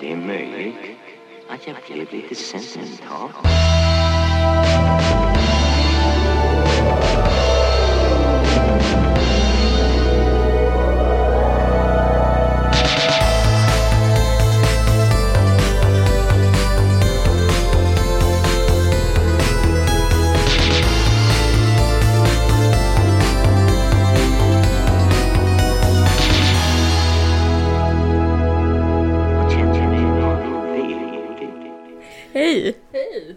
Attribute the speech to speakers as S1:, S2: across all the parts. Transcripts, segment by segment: S1: Det är möjligt att jag blev lite sentimental. Och kände mig väldigt
S2: Hej!
S3: Hej!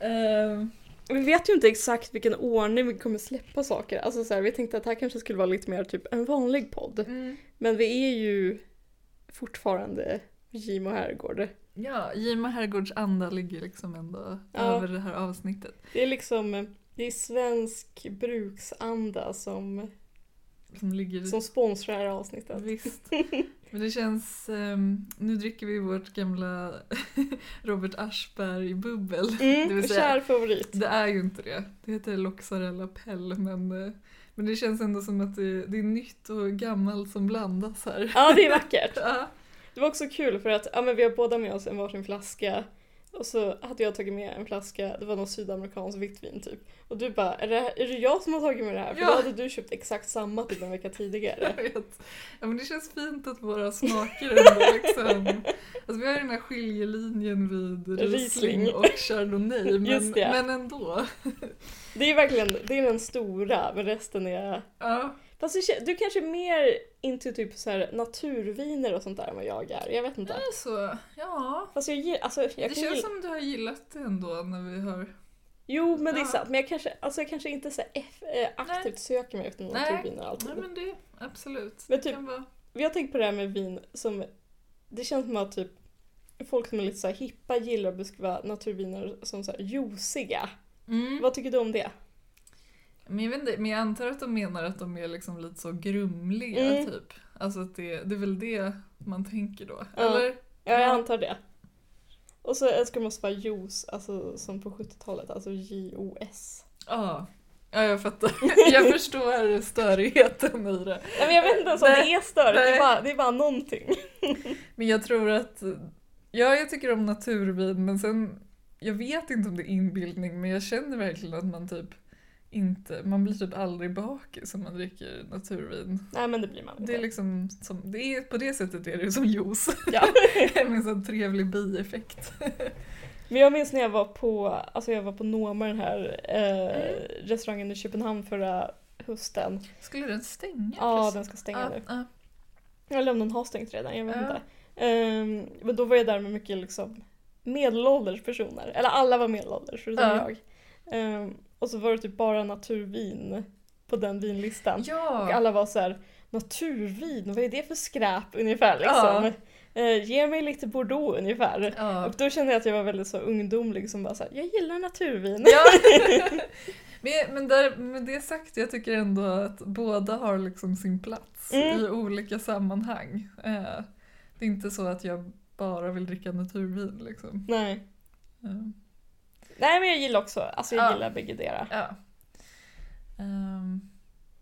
S3: Ehm,
S2: Vi vet ju inte exakt vilken ordning vi kommer släppa saker. Alltså så här, vi tänkte att det här kanske skulle vara lite mer typ en vanlig podd.
S3: mm,
S2: Men vi är ju fortfarande Jim och Herrgård.
S3: ja, Jim och Herrgårds anda ligger liksom ändå
S2: Ja.
S3: över det här avsnittet.
S2: Det är liksom, eh, det är svensk bruksanda som,
S3: Som ligger...
S2: som sponsrar det här avsnittet.
S3: Visst. Men det känns... ehm, nu dricker vi vårt gamla Robert Aschberg-bubbel. det
S2: Mm,
S3: vill säga,
S2: kär favorit.
S3: det är ju inte det. Det heter Loxarella Pell, men, eh, men det känns ändå som att det, det är nytt och gammalt som blandas här.
S2: Ja, det är vackert.
S3: Ja.
S2: Det var också kul för att ja, men vi har båda med oss en varsin flaska och så hade jag tagit med en flaska, det var någon sydamerikanskt vitt vin typ. Och du bara, är det, här, är det jag som har tagit med det här? För då
S3: Ja.
S2: hade du köpt exakt samma typ en vecka tidigare.
S3: Jag vet. Ja, men det känns fint att våra smaker ändå liksom... Alltså vi har ju den här skiljelinjen vid
S2: Riesling.
S3: Riesling och Chardonnay, men,
S2: Just det.
S3: men ändå.
S2: Det är verkligen det är den stora, men resten är...
S3: Ja,
S2: Fast du, kän- du kanske är mer into typ så här naturviner och sånt där än vad jag är. Jag vet inte.
S3: alltså, ja.
S2: Fast jag gillar, alltså, jag
S3: det
S2: kan
S3: känns
S2: gilla-
S3: som du har gillat det ändå när vi har...
S2: Jo men det är
S3: Ja.
S2: sant, men jag kanske, alltså, jag kanske inte så här eff- eh, aktivt söker mig efter
S3: Nej.
S2: naturviner alltid.
S3: Nej men det, absolut.
S2: Men
S3: det
S2: typ-
S3: kan vara...
S2: Vi har tänkt på det här med vin som... Det känns som att typ folk som är lite så här hippa gillar att beskriva naturviner som så här juiciga.
S3: Mm.
S2: Vad tycker du om det?
S3: Men jag vet inte, men jag antar att de menar att de är liksom lite så grumliga
S2: Mm.
S3: typ. Alltså att det, det är väl det man tänker då,
S2: Ja.
S3: eller?
S2: Ja, jag
S3: Ja.
S2: antar det. Och så älskar man vara juice, alltså som på 70-talet, alltså J-O-S.
S3: Ja. Ja, jag fattar. Jag förstår störigheten i det.
S2: Nej men jag vet inte ens om
S3: Nej.
S2: det är störigt, det är
S3: Nej.
S2: bara, det är bara någonting.
S3: Men jag tror att... Ja, jag tycker om naturvin, men sen... Jag vet inte om det är inbildning, men jag känner verkligen att man typ inte... Man blir typ aldrig bakis om man dricker naturvin.
S2: Nej men det blir man inte.
S3: Det är liksom som, det är, på det sättet är det ju som juice.
S2: Ja.
S3: Med en sån trevlig bieffekt.
S2: Men jag minns när jag var på, alltså jag var på Noma, den här eh,
S3: Mm.
S2: restaurangen i Köpenhamn förra hösten.
S3: Skulle den stänga?
S2: Ja, den ska stänga nu.
S3: Ja,
S2: Eller om den har stängt redan, jag vet
S3: Ja.
S2: inte. Ehm, men då var jag där med mycket liksom medelålders personer. Eller alla var medelålders förutom
S3: Ja.
S2: jag. Ehm, och så var det typ bara naturvin på den vinlistan.
S3: ja.
S2: Och alla var så här: naturvin, vad är det för skräp ungefär liksom? Eh, ge mig lite bordeaux ungefär.
S3: ja.
S2: Och då kände jag att jag var väldigt så ungdomlig som bara såhär, jag gillar naturvin.
S3: Ja. men, men där, med det sagt, jag tycker ändå att båda har liksom sin plats
S2: Mm.
S3: i olika sammanhang. Eh, det är inte så att jag bara vill dricka naturvin liksom.
S2: Nej.
S3: Eh,
S2: Nej men jag gillar också, alltså jag
S3: Ja.
S2: gillar bägge deras.
S3: ja. Ehm,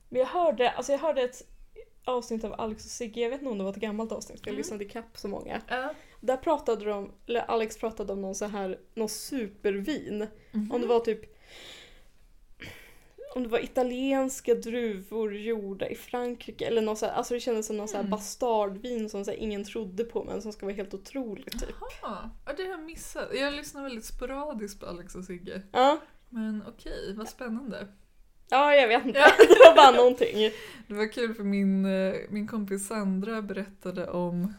S2: Men jag hörde, alltså jag hörde ett avsnitt av Alex och Sigge, jag vet inte om det var ett gammalt avsnitt för jag
S3: Mm.
S2: lyssnade ikapp så många.
S3: ja.
S2: Där pratade de, eller Alex pratade om någon så här, någon supervin.
S3: Mhm.
S2: Om det var typ om det var italienska druvor gjorda i Frankrike eller något så här, alltså det kändes som någon så här
S3: Mm.
S2: bastardvin som så här ingen trodde på men som ska vara helt otroligt typ.
S3: Jaha, ja, det har jag missat. Jag lyssnar väldigt sporadiskt på Alex och Sigge.
S2: Ja,
S3: Men okej, vad spännande.
S2: ja jag vet inte.
S3: Ja.
S2: det var bara någonting.
S3: Det var kul för min, eh, min kompis Sandra berättade om...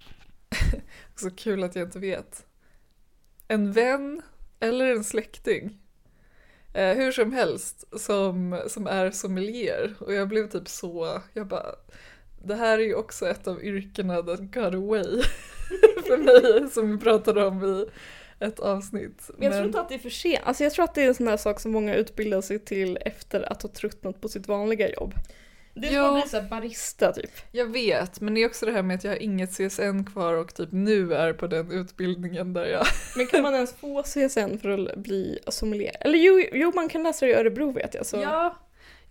S3: Så kul att jag inte vet. En vän eller en släkting. Eh, hur som helst, som, som är sommelier. Och jag blev typ så... Jag bara... Det här är ju också ett av yrkena that got away för mig, som vi pratade om i ett avsnitt.
S2: Men jag tror inte att det är för sent. Alltså jag tror att det är en sån här sak som många utbildar sig till efter att ha tröttnat på sitt vanliga jobb. Det är som att
S3: Jo.
S2: bli såhär barista typ.
S3: Jag vet, men det är också det här med att jag har inget CSN kvar och typ nu är på den utbildningen där jag...
S2: Men kan man ens få CSN för att bli sommelier? Eller jo, jo man kan läsa det i Örebro vet jag. Så.
S3: Ja,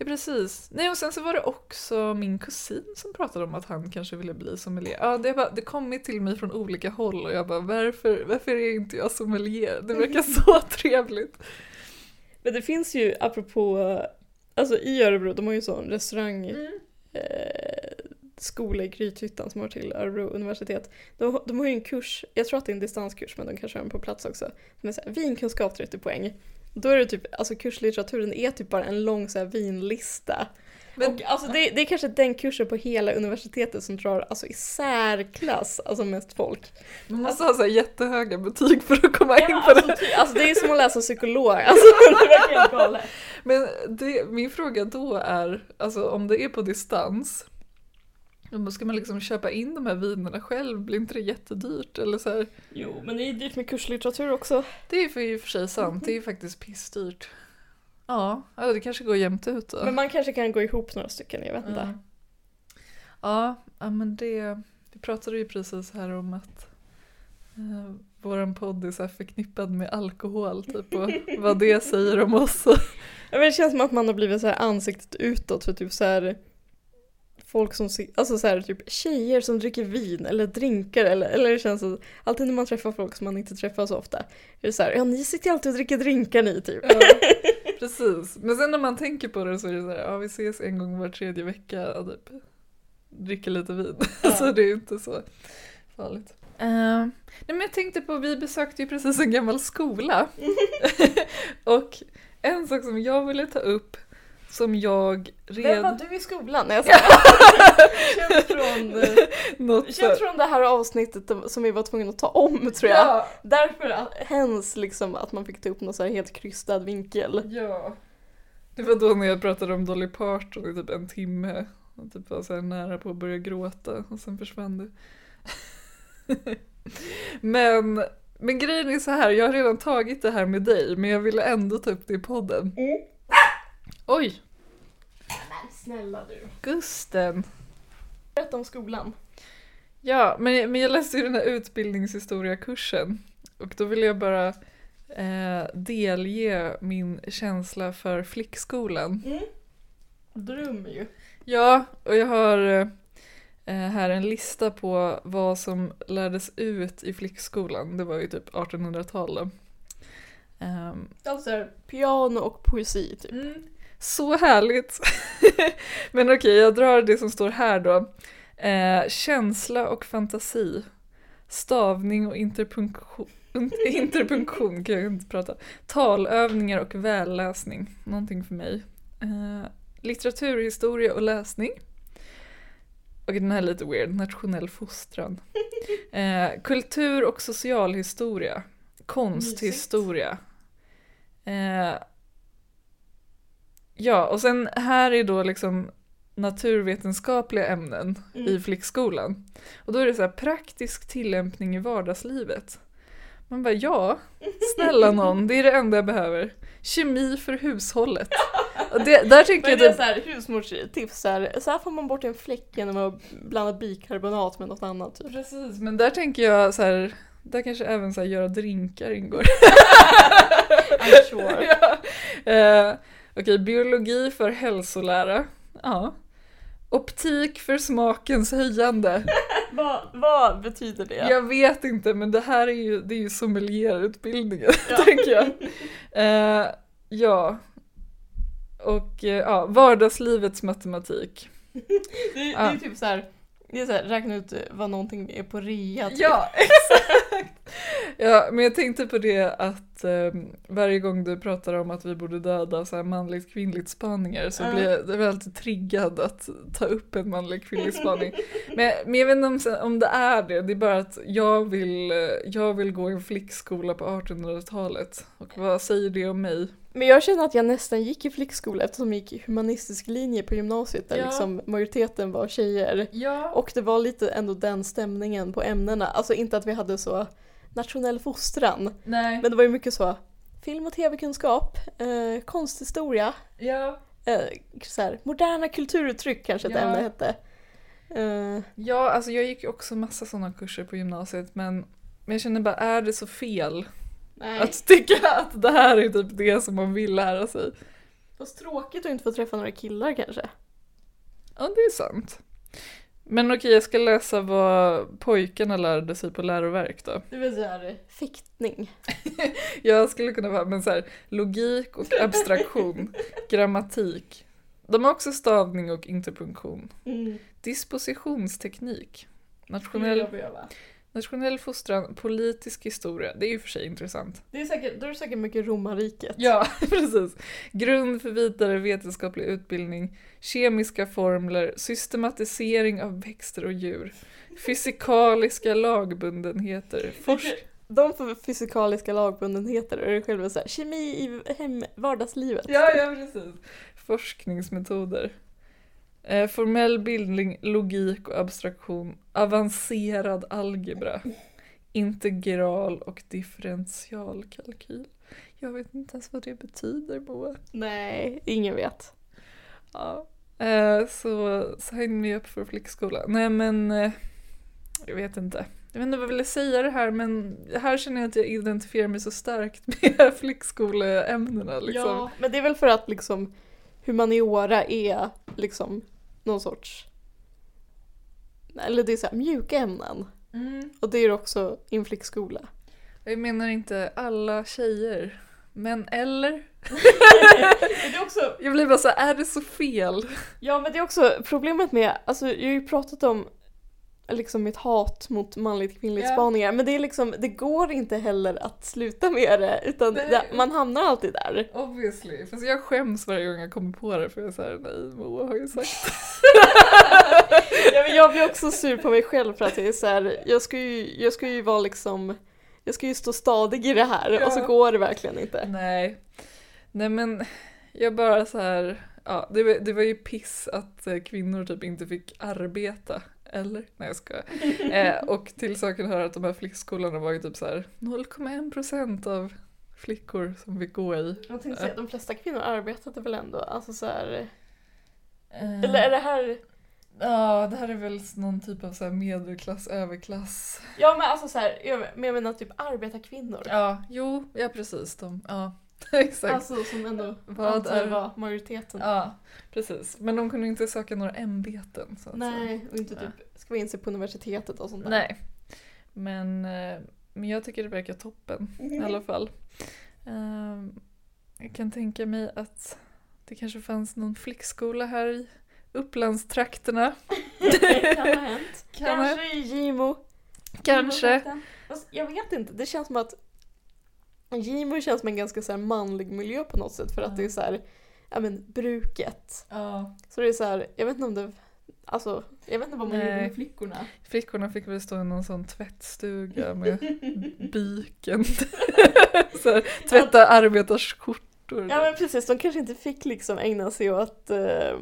S3: Ja, precis. Nej, och sen så var det också min kusin som pratade om att han kanske ville bli sommelier. Ja, det, bara, det kom ju till mig från olika håll och jag bara varför, varför är inte jag sommelier? Det verkar så trevligt.
S2: Men det finns ju, apropå, alltså i Örebro, de har ju sån restaurang eh, skola i Grythyttan som hör till Örebro universitet. De, de har ju en kurs, jag tror att det är en distanskurs men de kanske har den på plats också, som är så här, vinkunskap 30 poäng. Då är det typ, alltså kurslitteraturen är typ bara en lång så här, vinlista.
S3: Men-
S2: och, alltså, det, det är kanske den kursen på hela universitetet som drar alltså, i särklass alltså, mest folk.
S3: Man måste ha så här jättehöga betyg för att komma in
S2: Ja,
S3: på det.
S2: alltså, ty- alltså det är som att läsa psykolog. Alltså, det är verkligen galet.
S3: Men det, min fråga då är, alltså om det är på distans, då ska man liksom köpa in de här vinerna själv? Blir inte det jättedyrt? Eller så här?
S2: Jo, men det är ju dyrt med kurslitteratur också.
S3: Det är ju för, i och för sig sant, det är ju faktiskt pissdyrt. Ja, ja, det kanske går jämnt ut då.
S2: Men man kanske kan gå ihop några stycken, jag vet inte.
S3: Ja. Ja, ja, men det... Vi pratade ju precis här om att eh, vår podd är så här förknippad med alkohol typ och vad det säger om oss.
S2: Ja, men det känns som att man har blivit så här ansiktet utåt för typ så här folk som, si- alltså så här typ tjejer som dricker vin eller drinkar eller, eller det känns att alltid när man träffar folk som man inte träffar så ofta är det så här, ja ni sitter ju alltid och dricker drinkar ni typ.
S3: Ja, precis. Men sen när man tänker på det så är det så här, ja vi ses en gång var tredje vecka och typ dricker lite vin.
S2: Ja.
S3: så det är ju inte så farligt. Eh, nej men jag tänkte på, vi besökte ju precis en gammal skola. och en sak som jag ville ta upp som jag
S2: Vem
S3: redan...
S2: var du i skolan? Nej, jag skojar. Känt från,
S3: Något så-
S2: känt från det här avsnittet som vi var tvungna att ta om tror jag.
S3: Ja,
S2: Därför att, hens liksom att man fick ta upp någon så här helt krystad vinkel.
S3: ja. Det var då när jag pratade om Dolly Parton i typ en timme. Och typ var så här nära på att börja gråta och sen försvann det. men, men grejen är så här, jag har redan tagit det här med dig men jag ville ändå ta upp det i podden. Oj,
S2: Snälla du.
S3: Gusten.
S2: Berätta om skolan.
S3: Ja, men, men jag läste ju den här utbildningshistoriekursen och då ville jag bara eh, delge min känsla för flickskolan.
S2: Mm. Dröm ju.
S3: Ja, och jag har eh, här en lista på vad som lärdes ut i flickskolan. Det var ju typ 1800-tal då. Ehm,
S2: Alltså piano och poesi typ.
S3: så härligt! Men okej, jag drar det som står här då. Eh, känsla och fantasi. Stavning och interpunktion. Interpunktion kan jag inte prata. Talövningar och välläsning. Någonting för mig. Eh, litteraturhistoria och läsning. Och den här är lite weird. Nationell fostran. Eh, kultur och socialhistoria. Konsthistoria. Eh, Ja, och sen här är då liksom naturvetenskapliga ämnen
S2: Mm.
S3: i flickskolan. Och då är det så här praktisk tillämpning i vardagslivet. Man bara ja, snälla någon, det är det enda jag behöver. Kemi för hushållet. Och det, där tycker
S2: Men
S3: jag
S2: det är
S3: typ,
S2: såhär husmorstips, så här, så här får man bort en fläck genom att blanda bikarbonat med något annat typ.
S3: precis, men där tänker jag så här, där kanske även så här göra drinkar ingår.
S2: I'm sure.
S3: ja. eh, Okej, biologi för hälsolära. Ja. Optik för smakens höjande.
S2: vad, vad betyder det?
S3: Jag vet inte, men det här är ju, det är ju sommelierutbildningen, tänker jag. Eh, ja. Och eh, ja, vardagslivets matematik.
S2: Det, det
S3: Ja.
S2: är typ såhär, det är såhär räkna ut vad någonting är på rea typ.
S3: Ja, exakt! Ja, men jag tänkte på det att eh, varje gång du pratar om att vi borde döda så här manligt kvinnligt spaningar så
S2: Ja.
S3: blir jag, jag blir alltid triggad att ta upp en manlig kvinnlig spaning. men, men jag vet inte om, så- om det är det, det är bara att jag vill, eh, jag vill gå i en flickskola på 1800-talet. Och vad säger det om mig?
S2: Men jag känner att jag nästan gick i flickskola eftersom jag gick i humanistisk linje på gymnasiet där
S3: Ja.
S2: liksom majoriteten var tjejer.
S3: Ja.
S2: Och det var lite ändå den stämningen på ämnena. Alltså inte att vi hade så nationell fostran.
S3: nej.
S2: Men det var ju mycket så film och tv-kunskap, eh, konsthistoria,
S3: ja.
S2: eh, så här, moderna kulturuttryck kanske ett
S3: Ja.
S2: ämne hette. Eh,
S3: Ja, alltså jag gick ju också massa sådana kurser på gymnasiet men, men jag känner bara, är det så fel
S2: nej.
S3: att tycka att det här är typ det som man vill lära sig?
S2: Fast tråkigt att inte få träffa några killar kanske.
S3: Ja, det är sant. Men okej, jag ska läsa vad pojkarna lärde sig på läroverk då.
S2: Det vill säga fäktning.
S3: Jag skulle kunna vara men så här, logik och abstraktion, grammatik. De har också stavning och interpunktion.
S2: Mm.
S3: Dispositionsteknik. Nationell, nationell fostran, politisk historia. Det är ju i och för sig intressant.
S2: Det är säkert, då är det säkert mycket romarriket.
S3: Ja, precis. Grund för vidare vetenskaplig utbildning, kemiska formler, systematisering av växter och djur, fysikaliska lagbundenheter, forsk...
S2: De för fysikaliska lagbundenheter och det själva så här, kemi i hem, vardagslivet.
S3: Ja, ja, precis. Forskningsmetoder. Eh, formell bildning, logik och abstraktion, avancerad algebra, integral och differentialkalkyl. Jag vet inte ens vad det betyder, Moa.
S2: Nej, ingen vet.
S3: Ja. Eh, så sign me up för flickskola. Nej men, eh, jag vet inte. Jag vet inte vad jag ville säga det här men här känner jag att jag identifierar mig så starkt med flickskoleämnena liksom.
S2: Ja, men det är väl för att liksom humaniora är liksom någon sorts eller det är så här, mjuka ämnen.
S3: Mm.
S2: Och det är också i en flickskola.
S3: Jag menar inte alla tjejer. Men eller?
S2: Det är också
S3: Jag blir bara så här, är det så fel?
S2: Ja men det är också problemet med, alltså jag har ju pratat om liksom mitt hat mot manligt kvinnligt
S3: Ja.
S2: spaningar men det är liksom, det går inte heller att sluta med det utan
S3: Nej.
S2: det, man hamnar alltid där.
S3: Obviously. Fast jag skäms varje gång jag kommer på det för jag är såhär, nej Moa har ju sagt
S2: Ja, men jag blir också sur på mig själv för att jag är så här, jag ska ju, jag ska ju vara liksom, jag ska ju stå stadig i det här och så
S3: Ja.
S2: går det verkligen inte.
S3: Nej. Nej men jag bara så här. Ja, det, var, det var ju piss att eh, kvinnor typ inte fick arbeta. Eller? Nej jag skojar. Eh, och till saken hör att de här flickskolorna var ju typ så här 0,1 procent av flickor som fick gå i.
S2: Jag
S3: tänkte säga,
S2: de flesta kvinnor arbetade väl ändå, alltså så
S3: Eh,
S2: eller är det här
S3: Ja, det här är väl någon typ av så här medelklass, överklass.
S2: Ja men alltså såhär, jag menar typ arbetarkvinnor.
S3: Ja, jo, ja precis. De, ja, exakt.
S2: Alltså som ändå
S3: Vad
S2: antar
S3: är-
S2: var majoriteten.
S3: Ja, precis. Men de kunde inte söka några ämbeten. Så att Säga.
S2: Nej, och inte typ skriva in sig på universitetet och sånt där.
S3: Nej. Men, eh, men jag tycker det verkar toppen
S2: Mm.
S3: i alla fall. Ehm, Jag kan tänka mig att det kanske fanns någon flickskola här i Upplandstrakterna.
S2: Det kan ha hänt.
S3: Kan
S2: Kanske Mm. i Gimo.
S3: Kanske.
S2: Fast Jag vet inte, det känns som att Gimo känns som en ganska så här manlig miljö på något sätt för att
S3: Ja.
S2: det är så här, ja men bruket.
S3: Ja.
S2: Så det är så här, jag vet inte om det, alltså jag vet inte vad man
S3: Nej.
S2: gjorde med flickorna.
S3: Flickorna fick väl stå i någon sån tvättstuga med byken. så här, tvätta arbetarskjortor.
S2: Ja men precis, de kanske inte fick liksom ägna sig åt eh,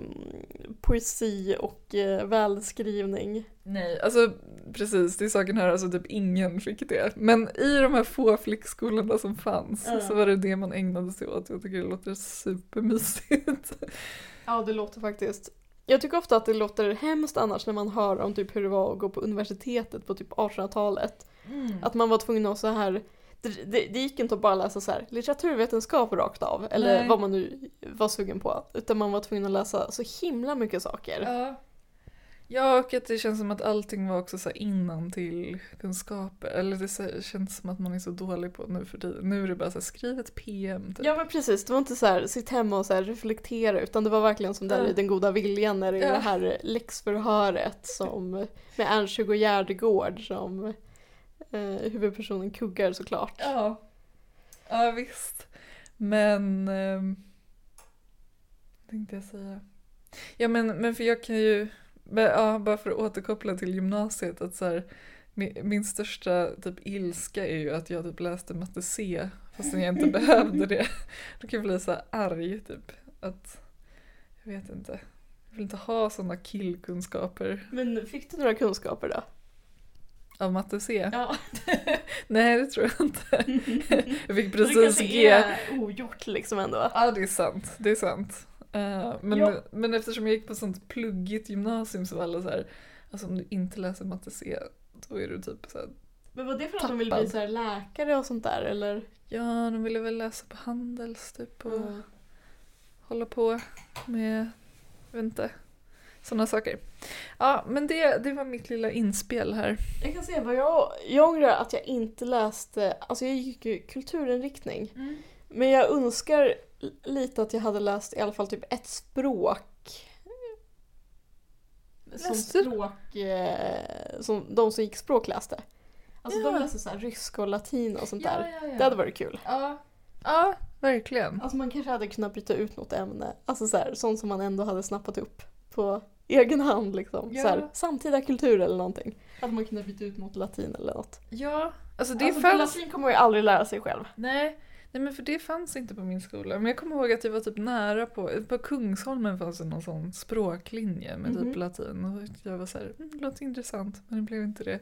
S2: poesi och eh, välskrivning.
S3: Nej, alltså precis, det är saken här, alltså typ ingen fick det. Men i de här få flickskolorna som fanns
S2: Ja.
S3: så var det det man ägnade sig åt. Jag tycker det låter supermysigt.
S2: Ja, det låter faktiskt. Jag tycker ofta att det låter hemskt annars när man hör om typ hur det var att gå på universitetet på typ 1800-talet. Att man var tvungen att så här det, det, det gick inte att bara läsa så här, litteraturvetenskap rakt av, eller
S3: Nej.
S2: vad man nu var sugen på. Utan man var tvungen att läsa så himla mycket saker.
S3: Ja. ja, och att det känns som att allting var också så här innan till kunskaper. Eller det så- känns som att man är så dålig på nu för tiden. Nu är det bara så här, skriv ett PM typ.
S2: Ja men precis, det var inte så här sitt hemma och så här reflektera utan det var verkligen som där
S3: Ja.
S2: i Den goda viljan när det är
S3: Ja.
S2: det här läxförhöret som, med Ernst-Hugo Gärdegård som eh, huvudpersonen kuggar såklart.
S3: Ja, ja visst. Men... ehm, Vad tänkte jag säga? Ja men, men för jag kan ju, men, ja, bara för att återkoppla till gymnasiet, att så här, min, min största typ ilska är ju att jag typ läste matte C fastän jag inte behövde det. Då kan jag bli så här arg typ. Att, jag vet inte. Jag vill inte ha sådana killkunskaper
S2: Men fick du några kunskaper då?
S3: av matte C.
S2: Ja,
S3: Nej det tror jag inte. Jag fick precis G.
S2: ogjort liksom ändå.
S3: Ja, det är sant. Det är sant. Eh, men,
S2: Ja.
S3: men eftersom jag gick på sånt pluggigt gymnasium så var alla så här, alltså om du inte läser matte C, då är du typ så här,
S2: Men var det för
S3: att de ville bli
S2: så
S3: Tappad.
S2: läkare och sånt där eller?
S3: Mm. ja, de ville väl läsa på Handels typ och hålla på med, jag vet inte, sådana saker. Ja, men det, det var mitt lilla inspel här.
S2: Jag kan säga vad jag, jag ångrar att jag inte läste, alltså jag gick ju kulturinriktning.
S3: Mm.
S2: Men jag önskar l- lite att jag hade läst i alla fall typ ett språk. Som
S3: Läste du?
S2: språk, eh, som de som gick språk läste. Alltså
S3: Ja.
S2: de läste så här ryska och latin och sånt där.
S3: ja,
S2: Det hade varit kul.
S3: Ja, ja verkligen.
S2: Alltså man kanske hade kunnat bryta ut något ämne, alltså så här, sånt som man ändå hade snappat upp på egen hand liksom.
S3: Ja.
S2: Så här, samtida kultur eller någonting. Hade man kunnat byta ut mot latin eller något.
S3: Ja, alltså det
S2: Det alltså,
S3: fanns...
S2: Latin kommer man ju aldrig lära sig själv.
S3: Nej, nej men för det fanns inte på min skola. Men jag kommer ihåg att jag var typ nära på, på Kungsholmen fanns det någon sån språklinje med
S2: Mhm.
S3: typ latin. Och jag var såhär, mm, det låter intressant men det blev inte det.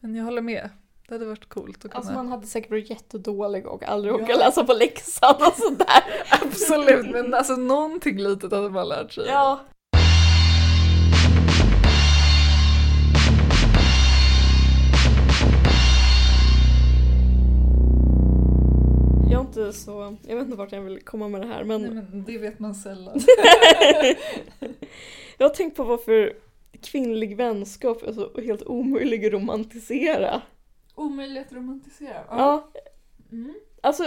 S3: Men jag håller med, det hade varit coolt att kunna.
S2: Alltså man hade säkert varit jättedålig och aldrig
S3: Ja.
S2: orkat läsa på läxan och sådär.
S3: Absolut, men alltså någonting litet hade man lärt sig.
S2: Ja. Jag är inte så, jag vet inte vart jag vill komma med det här men
S3: Nej, men det vet man sällan.
S2: jag har tänkt på varför kvinnlig vänskap är så helt omöjlig att romantisera.
S3: Omöjligt att romantisera.
S2: Ja,
S3: Mm.
S2: alltså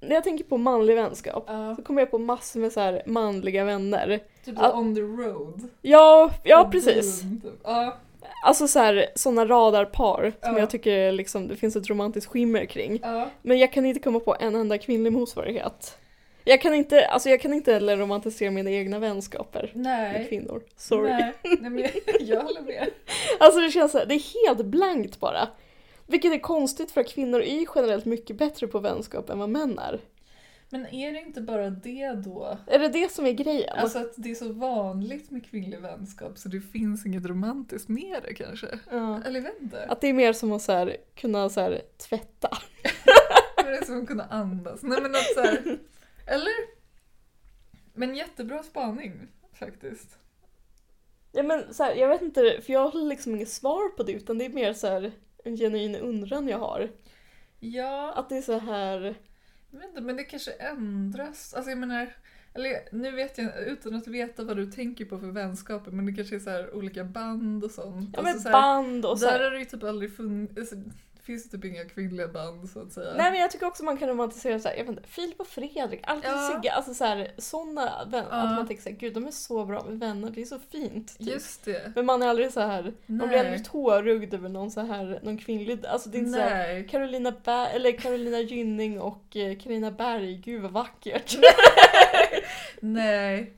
S2: när jag tänker på manlig vänskap
S3: Ja,
S2: så kommer jag på massor med så här manliga vänner.
S3: typ
S2: Ja.
S3: on the road.
S2: Ja, ja precis.
S3: Mm, typ. Ja.
S2: Alltså så här, såna radarpar som
S3: Ja.
S2: jag tycker liksom, det finns ett romantiskt skimmer kring.
S3: ja.
S2: Men jag kan inte komma på en enda kvinnlig motsvarighet. Jag kan inte, alltså jag kan inte heller romantisera mina egna vänskaper med
S3: Nej.
S2: kvinnor. Sorry.
S3: Nej, nej men jag, jag håller med.
S2: Alltså det känns så här, det är helt blankt bara. Vilket är konstigt för att kvinnor är ju generellt mycket bättre på vänskap än vad män är.
S3: Men är det inte bara det då?
S2: Är det det som är grejen?
S3: Alltså att det är så vanligt med kvinnlig vänskap så det finns inget romantiskt med det kanske?
S2: Ja.
S3: Eller jag vet inte.
S2: Att det är mer som att så här, kunna så här, tvätta.
S3: Men Det är som att kunna andas. Nej men att så här, Eller? Men jättebra spaning faktiskt.
S2: Ja, men så här, jag vet inte, för jag har liksom inget svar på det utan det är mer så här en genuin undran jag har.
S3: Ja,
S2: Att det är så här,
S3: jag vet inte, men det kanske ändras. Alltså jag menar, eller nu vet jag utan att veta vad du tänker på för vänskaper men det kanske är så här olika band och sånt.
S2: ja, men
S3: alltså så här,
S2: band och så
S3: Där
S2: här.
S3: har det ju typ aldrig funnits, alltså, det finns ju typ inga kvinnliga band så att säga.
S2: Nej men jag tycker också man kan romantisera så här, jag vet inte, Filip och Fredrik, Alfred och
S3: Ja.
S2: Sigge, alltså så här, såna vänner.
S3: Ja.
S2: Att man tänker såhär, gud de är så bra med vänner, det är så fint. Typ.
S3: Just det.
S2: Men man är aldrig så här, man blir aldrig tårögd över någon så här, någon kvinnlig, alltså det är inte så här,
S3: Nej.
S2: Carolina, Ber- eller Carolina Gynning och eh, Carina Berg, gud vad vackert.
S3: Nej.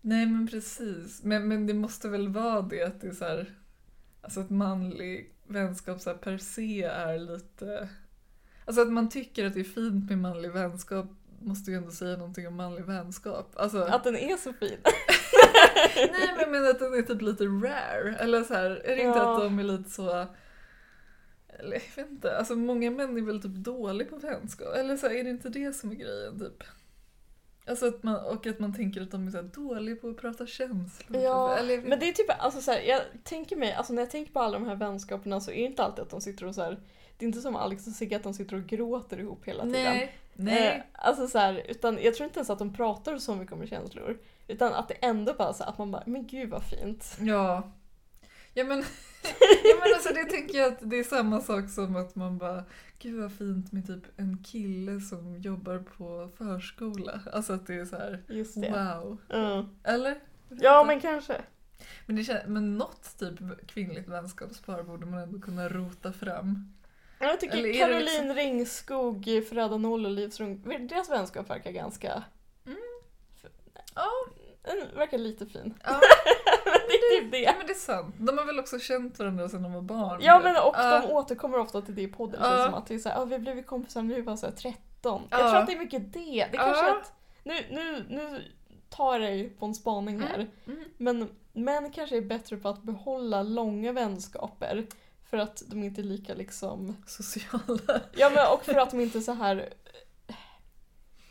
S3: Nej men precis. Men, men det måste väl vara det att det är så här, alltså att manlig vänskap så här per se är lite, alltså att man tycker att det är fint med manlig vänskap måste ju ändå säga någonting om manlig vänskap. Alltså,
S2: Att den är så fin.
S3: nej men jag menar att den är typ lite rare. Eller så här, är det inte
S2: Ja.
S3: att de är lite så, eller jag vet inte, alltså många män är väl typ dåliga på vänskap. Eller så här, är det inte det som är grejen typ? Alltså att man, och att man tänker att de är så här dåliga på att prata känslor.
S2: Ja,
S3: typ. eller, jag vet
S2: men det är typ, alltså så här, jag tänker mig, alltså när jag tänker på alla de här vänskaperna så är det inte alltid att de sitter och så här, det är inte som Alex och Sigge att de sitter och gråter ihop hela tiden.
S3: Nej, nej.
S2: Eh, Alltså så här, utan jag tror inte ens att de pratar så mycket om känslor. Utan att det ändå bara så här, att man bara, men gud vad fint.
S3: Ja. Ja men, ja men alltså det tänker jag att det är samma sak som att man bara Gud vad fint med typ en kille som jobbar på förskola. Alltså att det är så här
S2: Just det.
S3: wow.
S2: Mm.
S3: Eller?
S2: Ja men kanske.
S3: Men, det kän- men något typ kvinnligt vänskapspar borde man ändå kunna rota fram.
S2: Ja, Jag tycker
S3: Eller är det
S2: Caroline
S3: liksom-
S2: Ringskog, Fröda Noll och Liv Strunk, deras vänskap verkar ganska...
S3: Mm.
S2: F-
S3: Ja.
S2: Den verkar lite fin.
S3: Ja.
S2: det är typ
S3: Ja
S2: det.
S3: men det är sant. De har väl också känt varandra sedan de var barn.
S2: Ja men och
S3: Ja.
S2: de återkommer ofta till det i podden
S3: Ja.
S2: känns som att det är såhär, ah, vi blev ju kompisar när vi var såhär 13. Jag
S3: Ja.
S2: tror att det är mycket det. Det
S3: Ja.
S2: kanske är att, nu, nu, nu tar jag dig på en spaning här.
S3: Mm.
S2: Men män kanske är bättre på att behålla långa vänskaper för att de inte är lika liksom,
S3: Sociala.
S2: ja men och för att de inte är så här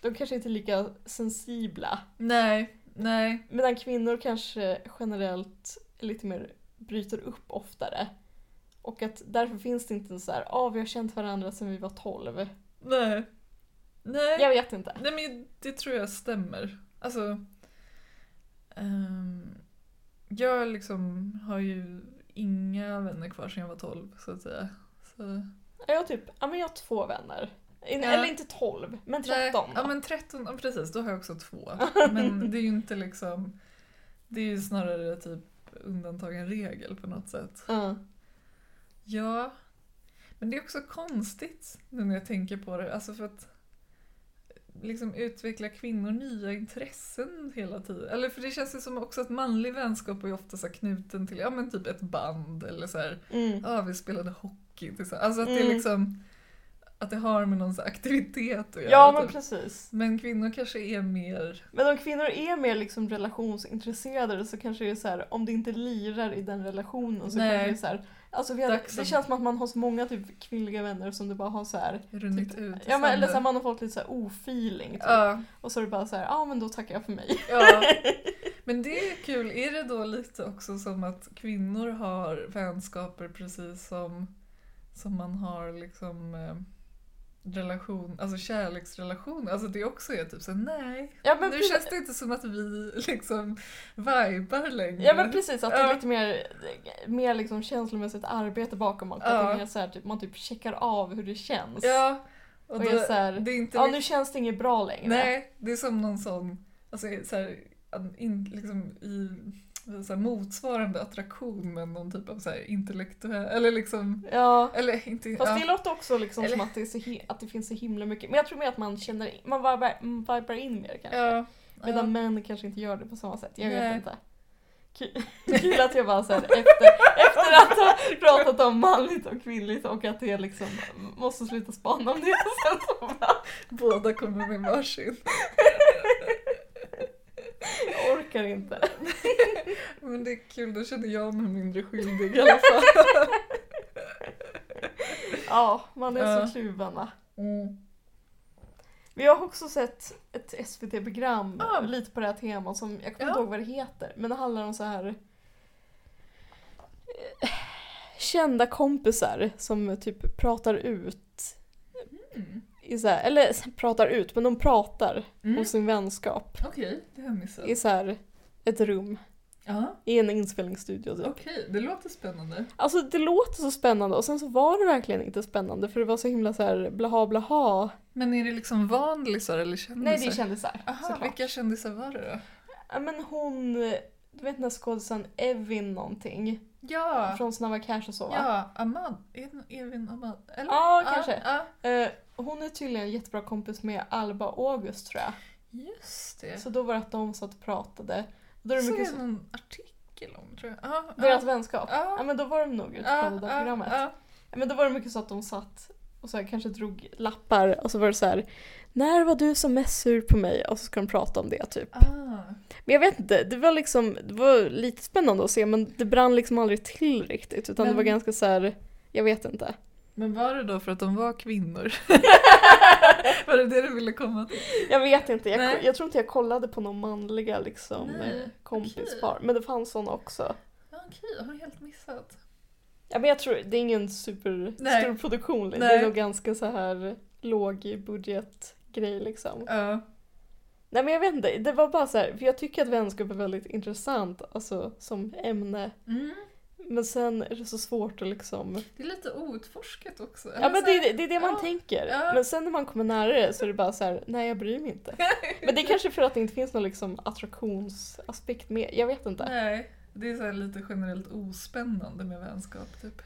S2: de kanske inte är lika sensibla.
S3: Nej, nej.
S2: Medan kvinnor kanske generellt är lite mer bryter upp oftare. Och att därför finns det inte en så här, ah, vi har känt varandra sedan vi var 12.
S3: Nej. Nej.
S2: Jag vet inte.
S3: Nej men det tror jag stämmer. Alltså, ehm, jag liksom har ju inga vänner kvar sedan jag var 12 så att säga. Så,
S2: Ja, Jag har typ, ja men jag har två vänner. In,
S3: Ja.
S2: Eller inte 12, men 13.
S3: Nej,
S2: då.
S3: ja men 13, ja, precis då har jag också två. Men det är ju inte liksom, det är ju snarare typ undantag än regel på något sätt.
S2: Ja.
S3: Ja. Men det är också konstigt nu när jag tänker på det. Alltså för att liksom utveckla kvinnor nya intressen hela tiden. Eller för det känns ju som också att manlig vänskap är ju ofta så här knuten till ja men typ ett band eller så här,
S2: Mm.
S3: ja vi spelade hockey tillsammans. Alltså att det är
S2: Mm.
S3: liksom att det har med någon så här aktivitet att göra.
S2: Ja men
S3: typ.
S2: precis.
S3: men kvinnor kanske är mer,
S2: Men om kvinnor är mer liksom relationsintresserade så kanske det är så här, om det inte lirar i den relationen så
S3: Nej.
S2: kanske det är så här, alltså vi hade,
S3: Dags
S2: det
S3: att-
S2: känns som att man har så många typ kvinnliga vänner som du bara har så här
S3: runnit ut
S2: Typ. Ja men eller så här,
S3: istället.
S2: man har fått lite så här ofeeling typ.
S3: Ja,
S2: och så är det bara så här, ja ah, men då tackar jag för mig.
S3: Ja. Men det är kul. Är det då lite också som att kvinnor har vänskaper precis som, som man har liksom eh, relation, alltså kärleksrelation. Alltså det också är typ så här, nej.
S2: Ja men,
S3: nu
S2: precis,
S3: känns det inte som att vi liksom vibar längre.
S2: ja, men precis att det
S3: Ja.
S2: är lite mer, mer liksom känslomässigt arbete bakom allt. Att det
S3: Ja.
S2: är mer så här, typ, man typ checkar av hur det känns.
S3: Ja, och
S2: Och
S3: då,
S2: är så här,
S3: det är inte
S2: Ja
S3: liksom-
S2: nu känns det inget bra längre.
S3: Nej, det är som någon sån, alltså så här, an- in, liksom i så här, motsvarande attraktion med någon typ av så här intellektuell, eller liksom,
S2: Ja.
S3: eller inte,
S2: Fast
S3: ja.
S2: det låter också liksom
S3: Eller-
S2: som att det, är så hi- att det finns så himla mycket. Men jag tror mer att man känner, man vibar, mm, vibar in mer kanske.
S3: Ja.
S2: Medan
S3: ja.
S2: män kanske inte gör det på samma sätt. Jag
S3: Nej.
S2: vet inte. Kul- Kul att jag bara såhär efter, efter att ha pratat om manligt och kvinnligt och att det liksom måste sluta spana om det. Och sen så bara,
S3: Båda kommer med varsin.
S2: jag orkar inte.
S3: Men det är kul, då känner jag mig mindre skyldig i alla fall.
S2: Ja, man är
S3: Ja.
S2: så kluven va.
S3: Mm.
S2: Vi har också sett ett SVT-program
S3: Ja.
S2: lite på det här temat som, jag kommer
S3: Ja.
S2: inte ihåg vad det heter, men det handlar om så här eh, kända kompisar som typ pratar ut, i så här, eller pratar ut, men de pratar
S3: Mm.
S2: om sin vänskap
S3: Okej, det har jag missat.
S2: i så här ett rum
S3: Ja,
S2: i en inspelningsstudio typ.
S3: okej, det låter spännande.
S2: Alltså det låter så spännande och sen så var det verkligen inte spännande för det var så himla så här blaha blaha.
S3: Men är det liksom vanlisar eller kändisar?
S2: Nej det är kändisar
S3: Aha, vilka kändisar var det då?
S2: Ja men hon, du vet den här skådisen Evin någonting
S3: Ja,
S2: från Snabba Cash och så va?
S3: ja Ahmad. Är det Evin Ahmad? Eller?
S2: Ja, kanske.
S3: Ja,
S2: Eh, hon är tydligen en jättebra kompis med Alba och August tror jag.
S3: just det.
S2: Så då var det att de satt och pratade. Och då är det
S3: Såg
S2: mycket
S3: jag någon artikel om tror jag. Ja,
S2: deras
S3: ja.
S2: vänskap.
S3: Ja.
S2: Ja men då var de nog ute på
S3: Ja,
S2: det där
S3: ja,
S2: programmet.
S3: ja.
S2: Ja, Men då var det mycket så att de satt och så här, kanske drog lappar och så var det så här. När var du som mest sur på mig? Och så ska de prata om det typ.
S3: Ah.
S2: Men jag vet inte, det var liksom, det var lite spännande att se men det brann liksom aldrig till riktigt utan
S3: Men-
S2: det var ganska så här. jag vet inte.
S3: Men var det då för att de var kvinnor? var det det du ville komma till?
S2: Jag vet inte,
S3: Nej.
S2: jag, jag tror inte jag kollade på någon manliga liksom
S3: Nej,
S2: eh, kompispar. Men det fanns sådana också.
S3: Ja, Okej, jag har helt missat.
S2: Ja men jag tror, det är ingen superstor
S3: Nej.
S2: stor produktion. liksom. Det
S3: Nej.
S2: är nog ganska så här låg budgetgrej liksom.
S3: Ja.
S2: Nej men jag vet inte, det var bara så här, för jag tycker att vänskap är väldigt intressant alltså som ämne.
S3: Mm.
S2: Men sen är det så svårt att liksom...
S3: Det är lite outforskat också.
S2: Ja men det, är- det är det man
S3: ja,
S2: tänker.
S3: ja.
S2: Men sen när man kommer nära det så är det bara så här, nej jag bryr mig inte. Men det är kanske för att det inte finns någon liksom attraktionsaspekt med, jag vet inte.
S3: Nej, det är så här lite generellt ospännande med vänskap typ.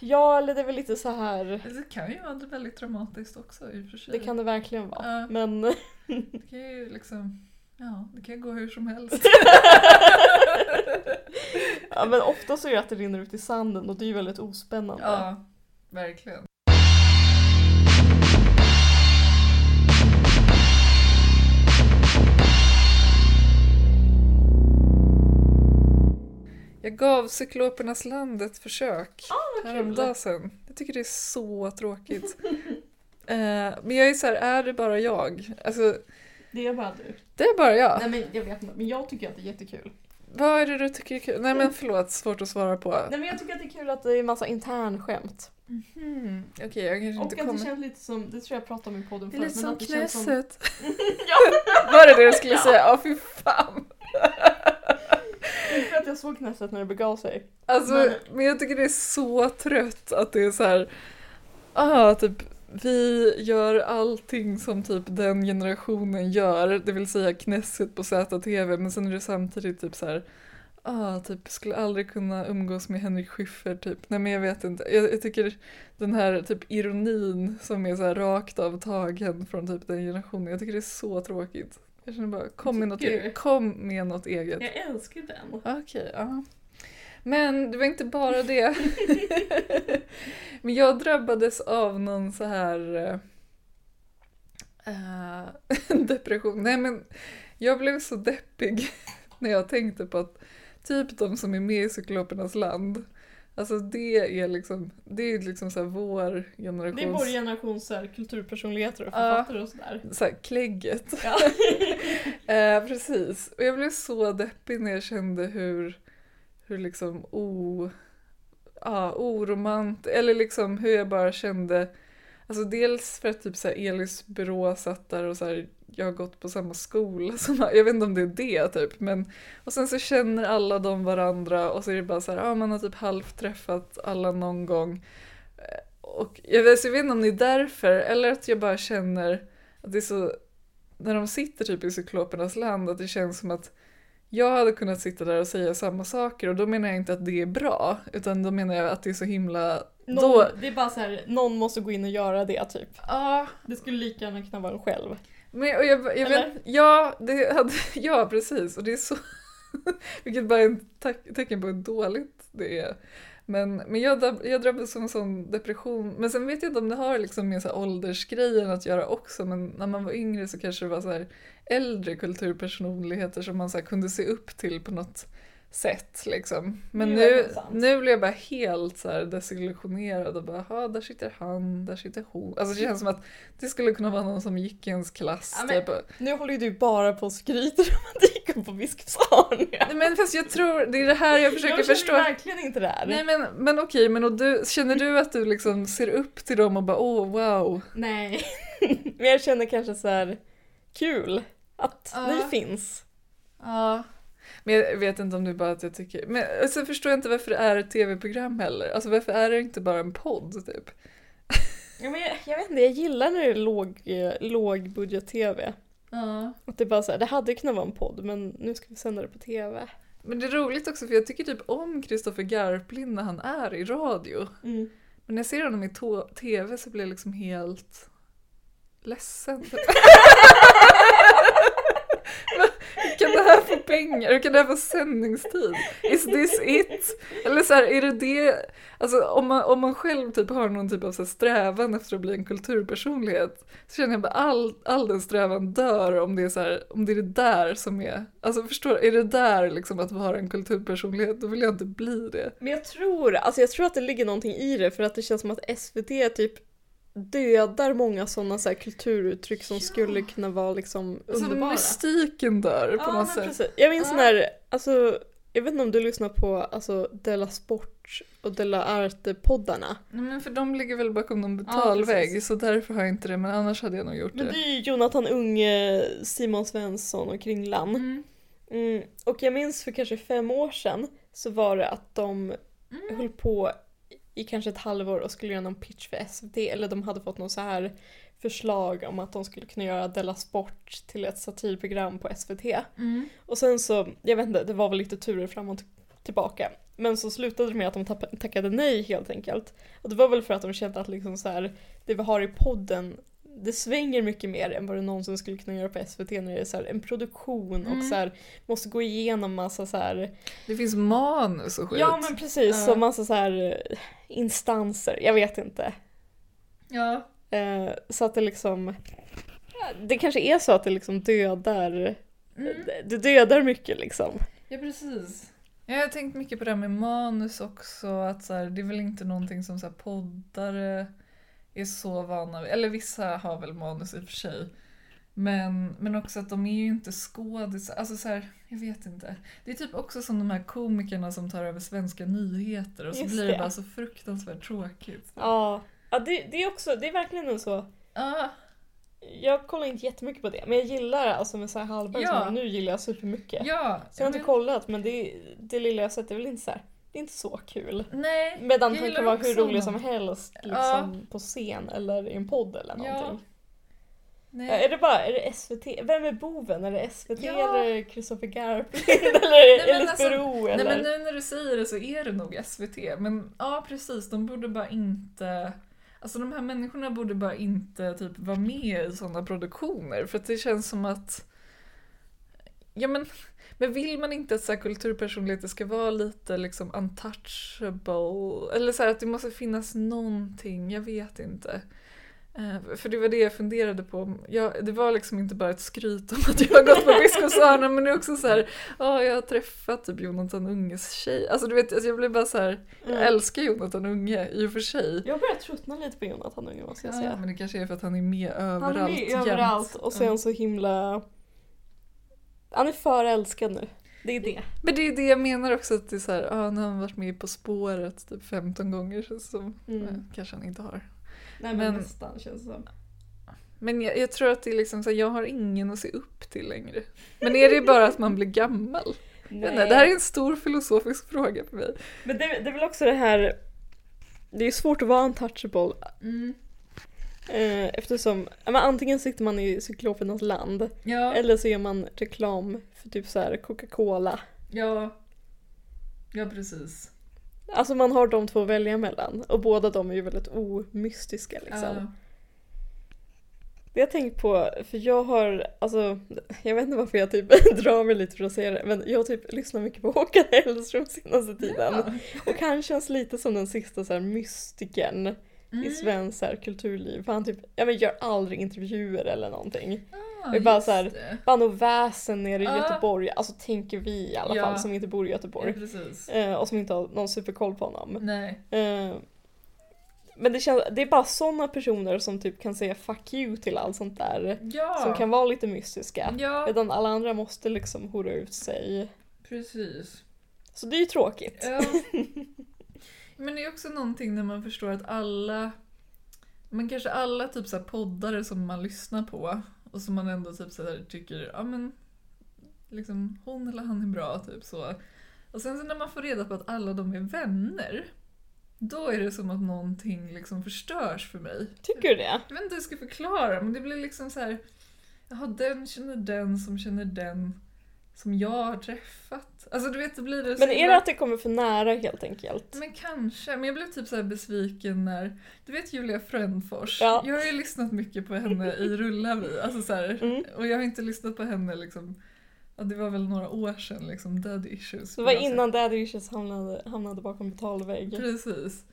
S2: Ja eller det är väl lite så här,
S3: Eller Det kan ju vara väldigt traumatiskt också i och för sig.
S2: det kan det verkligen vara.
S3: Ja.
S2: Men
S3: det kan ju liksom, ja, det kan gå hur som helst.
S2: Ja men ofta så är det att det rinner ut i sanden och det är ju väldigt ospännande.
S3: ja, verkligen. Jag gav Cyklopernas land ett försök
S2: Ah,
S3: häromdagen sen. Jag tycker det är så tråkigt. Eh, men jag är så här, är det bara jag? Alltså,
S2: Det är bara du.
S3: det är bara jag.
S2: Nej men jag vet inte, men jag tycker att det är jättekul.
S3: Vad
S2: Mm.
S3: är det du tycker är kul? Nej men förlåt, svårt att svara på.
S2: Nej men jag tycker att det är kul att det är massa internskämt.
S3: Mhm. Okej, jag kanske inte
S2: Och att Mm. det
S3: kommer...
S2: känns lite som, det tror jag pratade om i podden
S3: Det
S2: förut.
S3: är
S2: men
S3: lite som
S2: att det känns som-
S3: knässet.
S2: ja,
S3: Var det det du skulle
S2: Ja.
S3: säga? Ja, fy fan.
S2: för att jag såg knässet när det begav sig.
S3: Alltså, men...
S2: Men-
S3: jag tycker det är så trött att det är så här... Ah, typ, vi gör allting som typ den generationen gör, det vill säga knässet på ZTV, men sen är det samtidigt typ så här... Ah, typ skulle aldrig kunna umgås med Henrik Schyffert typ. Nej men jag vet inte. Jag, jag tycker den här typ ironin som är så här rakt av tagen från typ den generationen. Jag tycker det är så tråkigt. Jag känner bara kom med något,
S2: Tycker
S3: e-
S2: du?
S3: kom med något eget.
S2: Jag älskar den.
S3: Okej, ja. Men det var inte bara det. Men jag drabbades av någon så här eh, depression. Nej men jag blev så deppig när jag tänkte på att typ de som är med i Cyklopernas land, alltså det är liksom, det är liksom så här vår generations...
S2: Det är vår generations så här, kulturpersonligheter och
S3: Ja.
S2: författare och sådär.
S3: så här, klägget.
S2: Ja.
S3: Eh, precis. Och jag blev så deppig när jag kände hur, hur liksom o... Ja, oromant... Eller liksom hur jag bara kände... Alltså dels för att typ så här Elis byrå satt där och så här, jag har gått på samma skola som Jag vet inte om det är det typ. Men, och sen så känner alla de varandra och så är det bara så här, ah, man har typ halvt träffat alla någon gång. Eh, Och jag vet, så jag vet inte om det är därför eller att jag bara känner att det är så när de sitter typ i cyklopernas land att det känns som att jag hade kunnat sitta där och säga samma saker och då menar jag inte att det är bra utan då menar jag att det är så himla...
S2: Någon,
S3: Då,
S2: Det är bara så här, någon måste gå in och göra det typ.
S3: ja,
S2: Det skulle lika gärna kunna vara en själv.
S3: men och jag, jag vet,
S2: Eller?
S3: ja, det hade, ja, precis och det är så... vilket bara är ett tack- tecken på hur dåligt det är. Men, men jag, drabb- jag drabbades av en sån depression. Men sen vet jag inte om det har liksom med så här åldersgrejen att göra också. Men när man var yngre så kanske det var så här äldre kulturpersonligheter som man så här kunde se upp till på något sätt. Liksom.
S2: Det
S3: Men
S2: är
S3: nu,
S2: verkligen sant.
S3: nu blir jag bara helt så här desillusionerad och bara "Ha, där sitter han, där sitter hon. Alltså det känns som att det skulle kunna vara någon som gick i ens klass.
S2: Ja, men-
S3: typ.
S2: Nu håller ju du bara på och skryter om att du gick upp på Visksalia.
S3: Nej, men fast jag tror, det är det här jag försöker
S2: Jag känner
S3: förstå.
S2: ju verkligen inte det här.
S3: Nej men, men okej, men och du, känner du att du liksom ser upp till dem och bara åh wow?
S2: Nej. Men jag känner kanske så här kul att
S3: Ja.
S2: ni finns.
S3: Ja. Men jag vet inte om det är bara att jag tycker... Men sen alltså, förstår jag inte varför det är ett tv-program heller. Alltså varför är det inte bara en podd typ?
S2: Ja, men jag, jag vet inte, jag gillar när det är låg, eh, lågbudget-tv.
S3: Ja.
S2: Att det är bara så här, det hade kunnat vara en podd men nu ska vi sända det på tv.
S3: Men det är roligt också för jag tycker typ om Kristoffer Garplind när han är i radio.
S2: Mm.
S3: Men när jag ser honom i to- tv så blir jag liksom helt ledsen. Vad- Hur kan det här få pengar? Hur kan det här få sändningstid? Is this it? Eller så här, är det det? Alltså om man, om man själv typ har någon typ av så här strävan efter att bli en kulturpersonlighet så känner jag bara all, all den strävan dör om det är så här, om det är det där som är, alltså förstår är det där liksom att vara en kulturpersonlighet då vill jag inte bli det.
S2: Men jag tror, alltså jag tror att det ligger någonting i det för att det känns som att SVT typ dödar många sådana så här kulturuttryck som
S3: Ja.
S2: skulle kunna vara liksom
S3: Som
S2: underbara.
S3: Alltså, mystiken dör på något sätt.
S2: precis. Jag minns
S3: Ja.
S2: när, alltså, jag vet inte om du lyssnar på alltså, Della Sport och Della Arte-poddarna.
S3: Nej, men för de ligger väl bakom någon betalvägg så därför har jag inte det men annars hade jag nog gjort
S2: Men det
S3: det.
S2: är ju Jonathan Unge, Simon Svensson och Kringlan.
S3: Mm.
S2: Mm. Och jag minns för kanske fem år sedan så var det att de höll på i kanske ett halvår och skulle göra någon pitch för SVT eller de hade fått någon så här förslag om att de skulle kunna göra Della Sport till ett satirprogram på SVT. Och sen så, jag vet inte, det var väl lite turer fram och t- tillbaka. Men så slutade det med att de tapp- tackade nej helt enkelt. Och det var väl för att de kände att liksom så här, det vi har i podden, det svänger mycket mer än vad du någonsin skulle kunna göra på SVT när det är så här, en produktion och
S3: Mm.
S2: så här, måste gå igenom massa så här,
S3: Det finns manus och skit.
S2: ja men precis,
S3: Ja.
S2: och massa så här eh, instanser, jag vet inte.
S3: ja.
S2: Eh, så att det liksom, ja, det kanske är så att det liksom dödar,
S3: Mm.
S2: det- det dödar mycket liksom.
S3: ja precis. Jag har tänkt mycket på det här med manus också att så här, det är väl inte någonting som så här, poddare är så vana vid. Eller vissa har väl manus i och för sig. Men, men också att de är ju inte skådisar. Alltså så här, jag vet inte. Det är typ också som de här komikerna som tar över svenska nyheter och så
S2: Just
S3: blir det
S2: det.
S3: bara så fruktansvärt tråkigt.
S2: Ja, ja det, det är också, det är verkligen en så.
S3: Ah,
S2: Jag kollar inte jättemycket på det, men jag gillar alltså med Messiah Hallberg
S3: Ja.
S2: som nu gillar jag supermycket.
S3: ja.
S2: Så jag har
S3: men-
S2: inte kollat, men det, det lilla jag har sett är väl inte så här, det är inte så kul.
S3: Nej,
S2: Medan
S3: jag
S2: han
S3: gillar
S2: kan vara
S3: också
S2: hur rolig som
S3: honom.
S2: helst liksom, på scen eller i en podd eller
S3: Ja.
S2: någonting. Ja,
S3: Nej.
S2: är det bara, är det SVT? Vem är boven? Är det SVT
S3: Ja.
S2: eller Christopher Garplind eller
S3: men
S2: Elis
S3: alltså,
S2: Bro?
S3: Nej
S2: Eller?
S3: men nu när du säger det så är det nog SVT. Men ja precis, de borde bara inte... Alltså de här människorna borde bara inte typ vara med i sådana produktioner. För att det känns som att... Ja men, men vill man inte att så här, kulturpersonligheter ska vara lite liksom untouchable? Eller så här, att det måste finnas någonting, jag vet inte. Eh, För det var det jag funderade på. Jag, det var liksom inte bara ett skryt om att jag har gått på Biskopsörnen men det är också så här, ja jag har träffat typ Jonathan Unges tjej. Alltså du vet, alltså, jag blev bara så här, jag
S2: Mm.
S3: älskar Jonathan Unge i och för sig.
S2: Jag börjar tröttna lite på Jonathan Unge måste jag
S3: Ja,
S2: säga.
S3: men det kanske är för att han är med överallt.
S2: Han är med
S3: jämt.
S2: överallt och sen så himla... Han är för älskad nu. Det är det.
S3: Men det är det jag menar också att det är så här, ja, nu har han varit med På spåret typ 15 gånger känns det som.
S2: Mm.
S3: Eh, Kanske han inte har.
S2: Nej men,
S3: Men-
S2: nästan känns det som.
S3: Men jag, jag tror att det är liksom så här, jag har ingen att se upp till längre. Men är det bara att man blir gammal? Nej. Nej, det här är en stor filosofisk fråga för mig.
S2: Men det, det är väl också det här... Det är svårt att vara untouchable
S3: Mm.
S2: eh, eftersom ja, men antingen sitter man i cyklopernas land
S3: Ja,
S2: eller så gör man reklam för typ så här Coca-Cola.
S3: ja, ja precis.
S2: Alltså man har de två att välja mellan och båda de är ju väldigt omystiska liksom.
S3: Ja.
S2: Det jag tänkt på, för jag har, alltså jag vet inte varför jag typ drar mig lite för att säga det, men jag har typ lyssnat mycket på Håkan Hellström senaste tiden. Och han känns lite som den sista så här mystiken i
S3: Mm.
S2: svenskt så här, kulturliv. För han typ, ja men gör aldrig intervjuer eller någonting.
S3: Ja,
S2: Det är bara
S3: just
S2: så här,
S3: det.
S2: Bara något väsen nere i
S3: Ja.
S2: Göteborg, alltså tänker vi i alla
S3: Ah. Ja. Mm.
S2: fall som inte bor i
S3: Ja,
S2: Göteborg.
S3: precis.
S2: Eh, och som inte har någon superkoll på honom.
S3: Nej.
S2: Eh, men det känns, det är bara sådana personer som typ kan säga fuck you till allt sånt där.
S3: Ja.
S2: Som kan vara lite mystiska.
S3: Ja,
S2: Medan alla andra måste liksom hora ut sig.
S3: precis.
S2: Så det är ju tråkigt.
S3: Ja. Men det är också någonting när man förstår att alla, men kanske alla typ så här poddare som man lyssnar på och som man ändå typ så här tycker, ja men liksom hon eller han är bra typ så. Och sen så när man får reda på att alla de är vänner, då är det som att någonting liksom förstörs för mig.
S2: Tycker du det?
S3: Jag vet inte hur jag ska förklara men det blir liksom så här. Jaha, den känner den som känner den som jag har träffat. Alltså du vet, då blir det Mm, så
S2: Men är
S3: himla-
S2: det att det kommer för nära helt enkelt?
S3: Men kanske, men jag blev typ så här besviken när, du vet Julia Frändfors,
S2: Ja.
S3: jag har ju lyssnat mycket på henne i Rullar vi, alltså så här,
S2: Mm.
S3: och jag har inte lyssnat på henne liksom, ja, det var väl några år sedan liksom, Dead Issues.
S2: Så det var
S3: Men alltså-
S2: innan Daddy Issues hamnade, hamnade bakom betalvägg.
S3: Precis.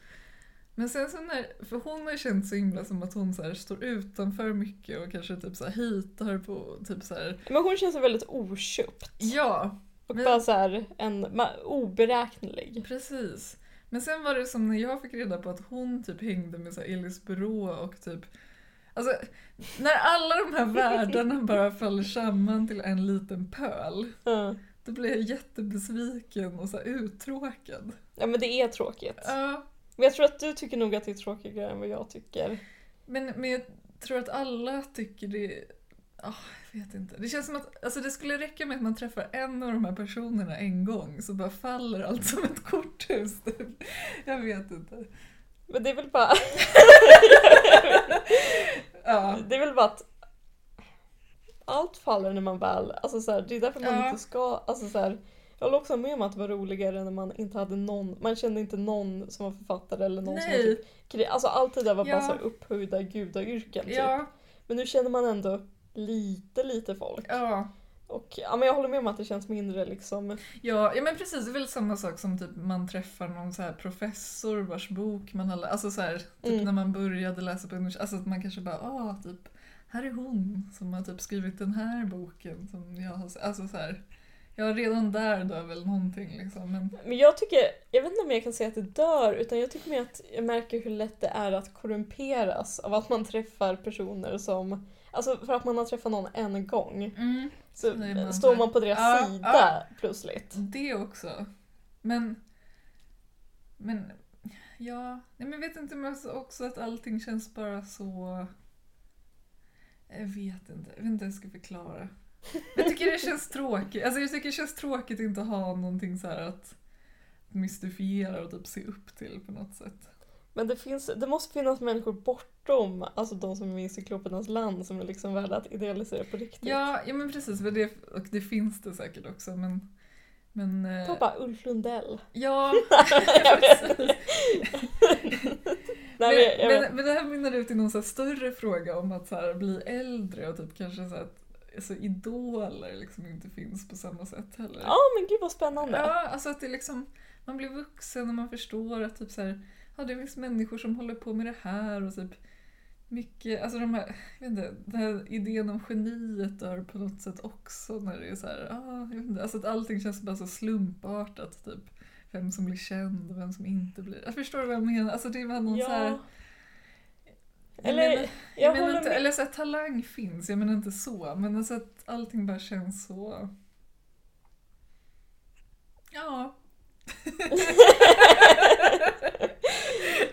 S3: Men sen så när, för hon har ju känt så himla som att hon så här står utanför mycket och kanske typ så här hitar på typ så här.
S2: Men hon känns väldigt oköpt
S3: Ja,
S2: och
S3: Men-
S2: bara så här en ma- oberäknelig.
S3: precis. Men sen var det som när jag fick reda på att hon typ hängde med så här Elis Brå och typ Alltså, när alla de här världarna bara faller samman till en liten pöl,
S2: Ja.
S3: då blir jag jättebesviken och så här uttråkad.
S2: Ja men det är tråkigt.
S3: Ja,
S2: Men jag tror att du tycker nog att det är tråkigare än vad jag tycker.
S3: Men, men jag tror att alla tycker det... Ah, jag vet inte. Det känns som att alltså det skulle räcka med att man träffar en av de här personerna en gång så bara faller allt som ett korthus. typ. Jag vet inte.
S2: Men det är väl bara,
S3: Ja,
S2: det är väl bara att allt faller när man väl, alltså så här, det är därför man
S3: Ja.
S2: inte ska, alltså så här, jag håller också med om att det var roligare när man inte hade någon, man kände inte någon som var författare eller någon som var
S3: nej.
S2: typ, kri- alltså allt det där var bara
S3: Ja.
S2: så här upphöjda gudayrken typ.
S3: Ja,
S2: Men nu känner man ändå lite, lite folk.
S3: ja.
S2: Och ja, men jag håller med om att det känns mindre liksom.
S3: Ja, ja, men precis. Det är väl samma sak som typ man träffar någon så här professor vars bok man har lä- Alltså så här, typ
S2: Mm.
S3: när man började läsa på universitetet. Alltså att man kanske bara, ah, typ, här är hon som har typ skrivit den här boken som jag har... Alltså så här, Ja, redan där dör väl någonting liksom. Men,
S2: Men jag tycker, jag vet inte om jag kan säga att det dör, utan jag tycker mer att jag märker hur lätt det är att korrumperas av att man träffar personer som, alltså för att man har träffat någon en gång,
S3: mm,
S2: så
S3: Så det är man
S2: står
S3: så-
S2: man på deras
S3: Ja,
S2: sida
S3: ja.
S2: plötsligt.
S3: det också. Men, men ja, nej, men jag vet inte men också att allting känns bara så... Jag vet inte, jag vet inte hur jag ska förklara. Jag tycker det känns tråkigt. Alltså jag tycker det känns tråkigt att inte ha någonting så här att mystifiera och typ se upp till på något sätt.
S2: Men det, finns, det måste finnas människor bortom, alltså de som är med i Cyklopernas land som är liksom värda att idealisera på riktigt.
S3: Ja, ja men precis. men Det, och det finns det säkert också men... men eh,
S2: Ta bara Ulf Lundell.
S3: Ja,
S2: Jag vet
S3: precis.
S2: Nej, men, jag, jag vet.
S3: men, men, men det här mynnar ut i någon så här större fråga om att så här bli äldre och typ kanske så här att alltså, idoler liksom inte finns på samma sätt heller.
S2: Ja men gud vad spännande.
S3: Ja, alltså att det är liksom, man blir vuxen och man förstår att typ så här, ja, det finns människor som håller på med det här och typ mycket, alltså de här, jag vet inte, den här idén om geniet dör på något sätt också när det är så här, ja, jag vet inte, alltså att allting känns bara så slumpartat typ. Vem som blir känd och vem som inte blir. Jag förstår vad jag menar. Alltså det är bara någon så här,
S2: Ja.
S3: jag
S2: Eller,
S3: menar-
S2: jag
S3: jag menar
S2: håller
S3: inte,
S2: med.
S3: eller så här, talang finns, jag menar inte så, men alltså att allting bara känns så... Ja.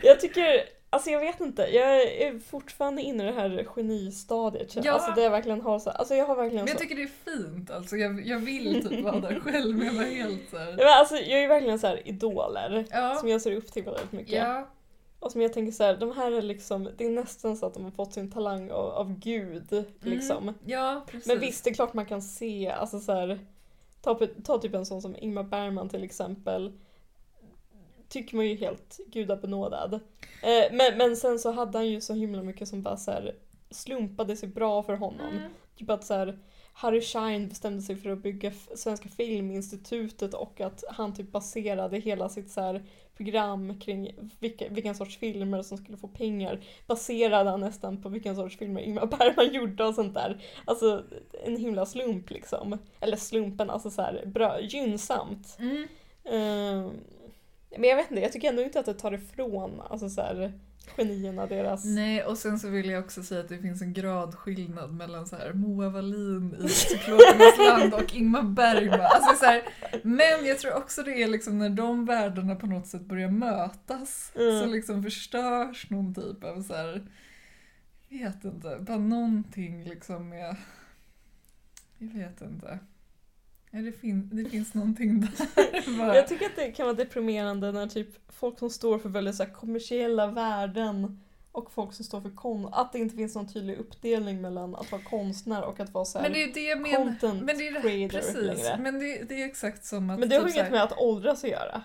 S2: Jag tycker, alltså jag vet inte, jag är fortfarande inne i det här genistadiet. känner jag.
S3: Ja.
S2: Alltså det jag verkligen har så, alltså jag har verkligen
S3: Men jag
S2: så.
S3: tycker det är fint, alltså jag, jag vill typ vara där själv, men jag var helt så
S2: Ja,
S3: här...
S2: men alltså, jag är ju verkligen så här idoler som
S3: Ja.
S2: jag ser upp till väldigt mycket.
S3: Ja. mm,
S2: Och som jag tänker så här, de här är liksom, det är nästan så att de har fått sin talang av, av gud liksom.
S3: Mm. Ja, precis.
S2: Men visst, det är klart man kan se, alltså så här, ta, på- ta typ en sån som Ingmar Bergman till exempel. Tycker man ju helt gudabenådad. Eh, men, men sen så hade han ju så himla mycket som bara så här slumpade sig bra för honom.
S3: Mm.
S2: Typ att så här, Harry Schein bestämde sig för att bygga F- Svenska Filminstitutet och att han typ baserade hela sitt så här program kring vilka, vilken sorts filmer som skulle få pengar baserade han nästan på vilken sorts filmer Ingmar Bergman gjorde och sånt där. Alltså en himla slump liksom. Eller slumpen, alltså så här bra, gynnsamt.
S3: Mm.
S2: Ehm, men jag vet inte, jag tycker ändå inte att det tar ifrån alltså så här, genierna deras...
S3: Nej, och sen så vill jag också säga att det finns en gradskillnad mellan så här Moa Wallin i Cyklopernas land och Ingmar Bergman. Alltså så här, men jag tror också det är liksom när de världarna på något sätt börjar mötas
S2: Mm.
S3: så liksom förstörs någon typ av så här, jag vet inte, bara någonting liksom med, jag vet inte. Ja, det, fin- det finns någonting där. Bara.
S2: Jag tycker att det kan vara deprimerande när typ folk som står för väldigt så här kommersiella värden och folk som står för konst, att det inte finns någon tydlig uppdelning mellan att vara konstnär och att vara så här.
S3: Men det är ju det jag menar.
S2: content
S3: Men det är
S2: creator
S3: det, precis,
S2: längre.
S3: men det, det är exakt som att...
S2: Men det har
S3: typ så
S2: inget
S3: här-
S2: med att åldras att göra.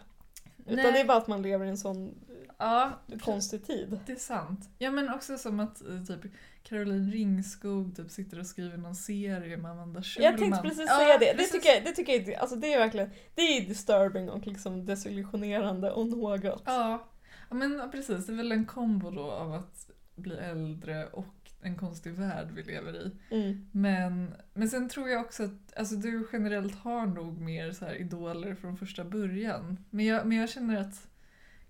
S2: Utan
S3: Nej.
S2: det är bara att man lever i en sån
S3: Ja,
S2: konstig tid.
S3: det är sant. Ja men också som att eh, typ Caroline Ringskog typ sitter och skriver någon serie med Amanda Schulman.
S2: Jag tänkte precis
S3: Ja,
S2: säga det.
S3: precis.
S2: Det tycker jag, det tycker jag är- alltså det är verkligen, det är disturbing och liksom desillusionerande och något.
S3: Ja. ja, men ja, precis. Det är väl en kombo då av att bli äldre och en konstig värld vi lever i.
S2: Mm.
S3: Men, men sen tror jag också att alltså, du generellt har nog mer så här idoler från första början. Men jag, men jag känner att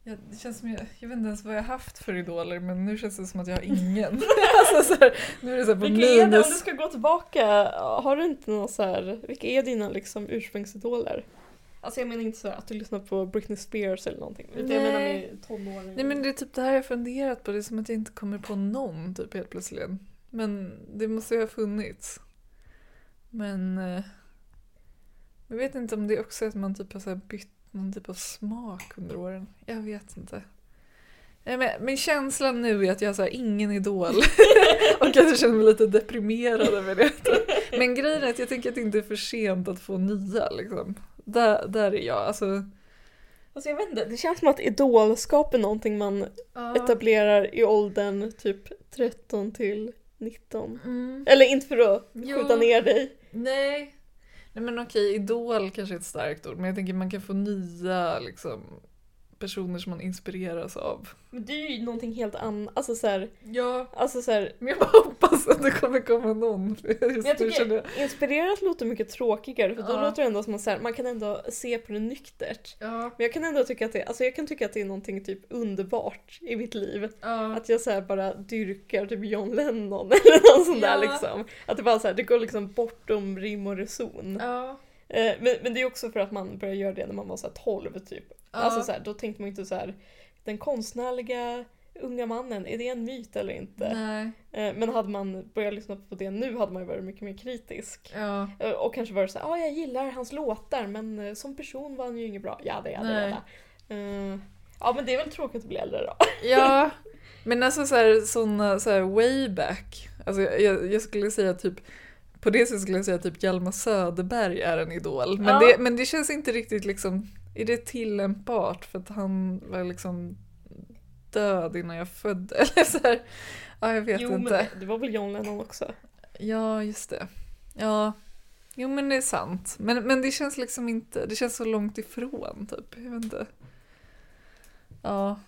S3: jag, det känns som jag, jag vet inte ens vad jag haft för idoler men nu känns det som att jag har ingen. alltså, så här, nu är det så här på
S2: Vilka är det, om
S3: minus.
S2: du ska gå tillbaka, har du inte någon så här, vilka är dina liksom ursprungsidoler? Alltså jag menar inte så här att du lyssnar på Britney Spears eller någonting. Utan jag menar
S3: Nej.
S2: med tonåring.
S3: Nej men det är typ det här jag funderat på, det är som att jag inte kommer på någon typ helt plötsligt. Men det måste ju ha funnits. Men eh, jag vet inte om det är också att man typ har så här bytt någon typ av smak under åren. Jag vet inte. Nej, men, men känslan nu är att jag har så här ingen idol och att jag känner mig lite deprimerad över det. Men grejen är att jag tänker att det inte är för sent att få nya liksom. Där, där är jag. Alltså,
S2: Alltså jag vet inte, det känns som att idolskap är någonting man etablerar i åldern typ 13 till 19.
S3: Mm.
S2: Eller inte för att
S3: Jo.
S2: skjuta ner dig.
S3: Nej. Nej men okej, idol kanske är ett starkt ord, men jag tänker man kan få nya liksom, personer som man inspireras av.
S2: Men det är ju någonting helt annat. Alltså så här,
S3: Ja,
S2: alltså så här,
S3: men jag bara hoppas att det kommer komma någon. för Just
S2: men jag
S3: nu känner jag...
S2: tycker inspirerat låter mycket tråkigare för då
S3: Ja.
S2: låter det ändå som att så här, man kan ändå se på det nyktert.
S3: Ja,
S2: Men jag kan ändå tycka att det, alltså jag kan tycka att det är någonting typ underbart i mitt liv.
S3: ja.
S2: Att jag så här bara dyrkar typ John Lennon eller någon sån
S3: Ja.
S2: där liksom. Att det bara så här, det går liksom bortom rim och reson.
S3: ja.
S2: Eh, men, men det är också för att man började göra det när man var så här 12 typ.
S3: Ja.
S2: Alltså så här, då tänkte man inte så här, den konstnärliga unga mannen, är det en myt eller inte?
S3: Nej.
S2: Eh, men hade man börjat lyssna på det nu hade man ju varit mycket mer kritisk.
S3: Ja.
S2: Eh, och kanske varit så här, ja ah, jag gillar hans låtar men eh, som person var han ju inget bra. Jada jada
S3: Nej.
S2: jada. Eh, ja men det är väl tråkigt att bli äldre då.
S3: Ja, men alltså så här, såna så här way back. Alltså jag, jag, jag skulle säga typ på det sättet skulle jag säga typ Hjalmar Söderberg är en idol. Men,
S2: Ja.
S3: det, men det känns inte riktigt liksom, är det tillämpbart för att han var liksom död innan jag föddes? Eller så här, ja jag vet
S2: jo
S3: inte.
S2: men det var väl John Lennon också.
S3: Ja, just det. Ja, jo men det är sant. Men, men det känns liksom inte, det känns så långt ifrån typ. Jag vet inte. Ja,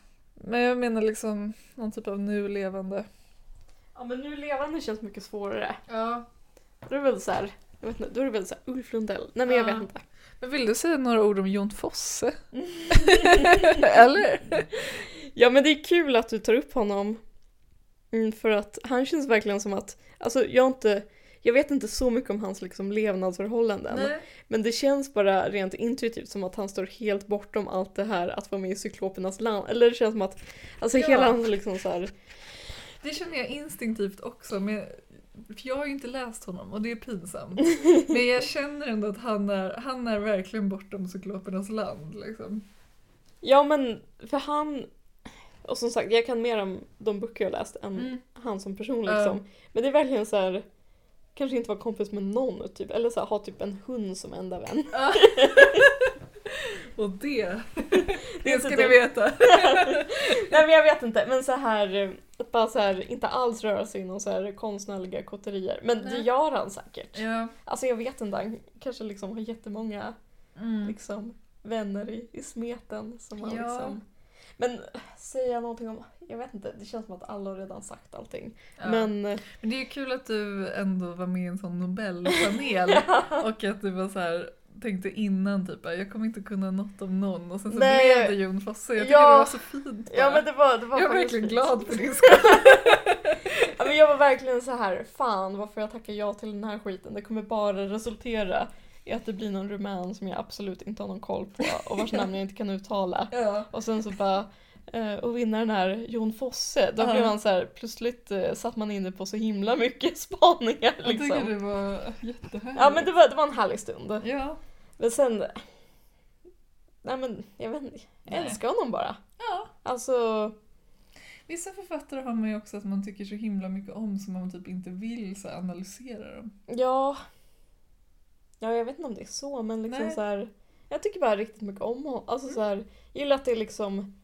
S3: men jag menar liksom någon typ av nu levande.
S2: Ja men nu levande känns mycket svårare.
S3: Ja.
S2: Då är det väl så här, jag vet inte, då är det väl så här Ulf Lundell. Nej men jag
S3: Ja.
S2: vet inte.
S3: Men vill du säga några ord om Jon Fosse? Eller?
S2: Ja men det är kul att du tar upp honom. Mm, för att han känns verkligen som att, alltså jag har inte, jag vet inte så mycket om hans liksom levnadsförhållanden. Men det känns bara rent intuitivt som att han står helt bortom allt det här att vara med i Cyklopernas land. Eller det känns som att, alltså
S3: Ja.
S2: hela hans liksom så här,
S3: Det känner jag instinktivt också, men för jag har ju inte läst honom och det är pinsamt. Men jag känner ändå att han är, han är verkligen bortom cyklopernas land. Liksom.
S2: ja men för han, och som sagt jag kan mer om de böcker jag läst än han som person
S3: Ja.
S2: liksom. Men det är verkligen så här. Kanske inte vara kompis med någon typ, eller så här, ha typ en hund som enda vän.
S3: Och det,
S2: är
S3: det
S2: inte
S3: ska ni
S2: dumt.
S3: veta.
S2: Nej men jag vet inte, men så här eh, att bara så här inte alls röra sig inom så här konstnärliga kotterier. Men det
S3: Nej.
S2: gör han säkert.
S3: Ja.
S2: Alltså jag vet inte, han kanske liksom har jättemånga
S3: Mm.
S2: liksom vänner i, i smeten som han
S3: Ja.
S2: liksom men eh, säga någonting om, jag vet inte, det känns som att alla har redan sagt allting.
S3: Ja. Men...
S2: Men eh,
S3: det är ju kul att du ändå var med i en sån Nobelpanel och att du var så här tänkte innan typ jag kommer inte kunna något om någon och sen så
S2: Nej.
S3: blev det Jon Fosse. Jag tycker
S2: Ja.
S3: det var så fint bara.
S2: ja men det var, det var
S3: Jag är
S2: faktiskt
S3: verkligen
S2: fint.
S3: glad för din skull.
S2: Ja, men jag var verkligen så här, fan varför jag tackar ja till den här skiten. Det kommer bara resultera i att det blir någon rumän som jag absolut inte har någon koll på och vars namn jag inte kan uttala.
S3: Ja.
S2: Och sen så bara, eh, och vinna den här Jon Fosse. Då
S3: Ja.
S2: blev han så här, plötsligt eh, satt man inne på så himla mycket spaningar
S3: Jag tycker
S2: liksom.
S3: det var jättehärligt.
S2: Ja men det var, det var en härlig stund.
S3: Ja.
S2: Men sen, nej men jag vet inte, jag
S3: Nej.
S2: älskar honom bara.
S3: ja.
S2: Alltså,
S3: Vissa författare har man ju också att man tycker så himla mycket om som man typ inte vill så här, analysera dem.
S2: Ja. Ja, jag vet inte om det är så, men liksom
S3: Nej.
S2: så här, jag tycker bara riktigt mycket om honom. Alltså så här, jag gillar att det är liksom...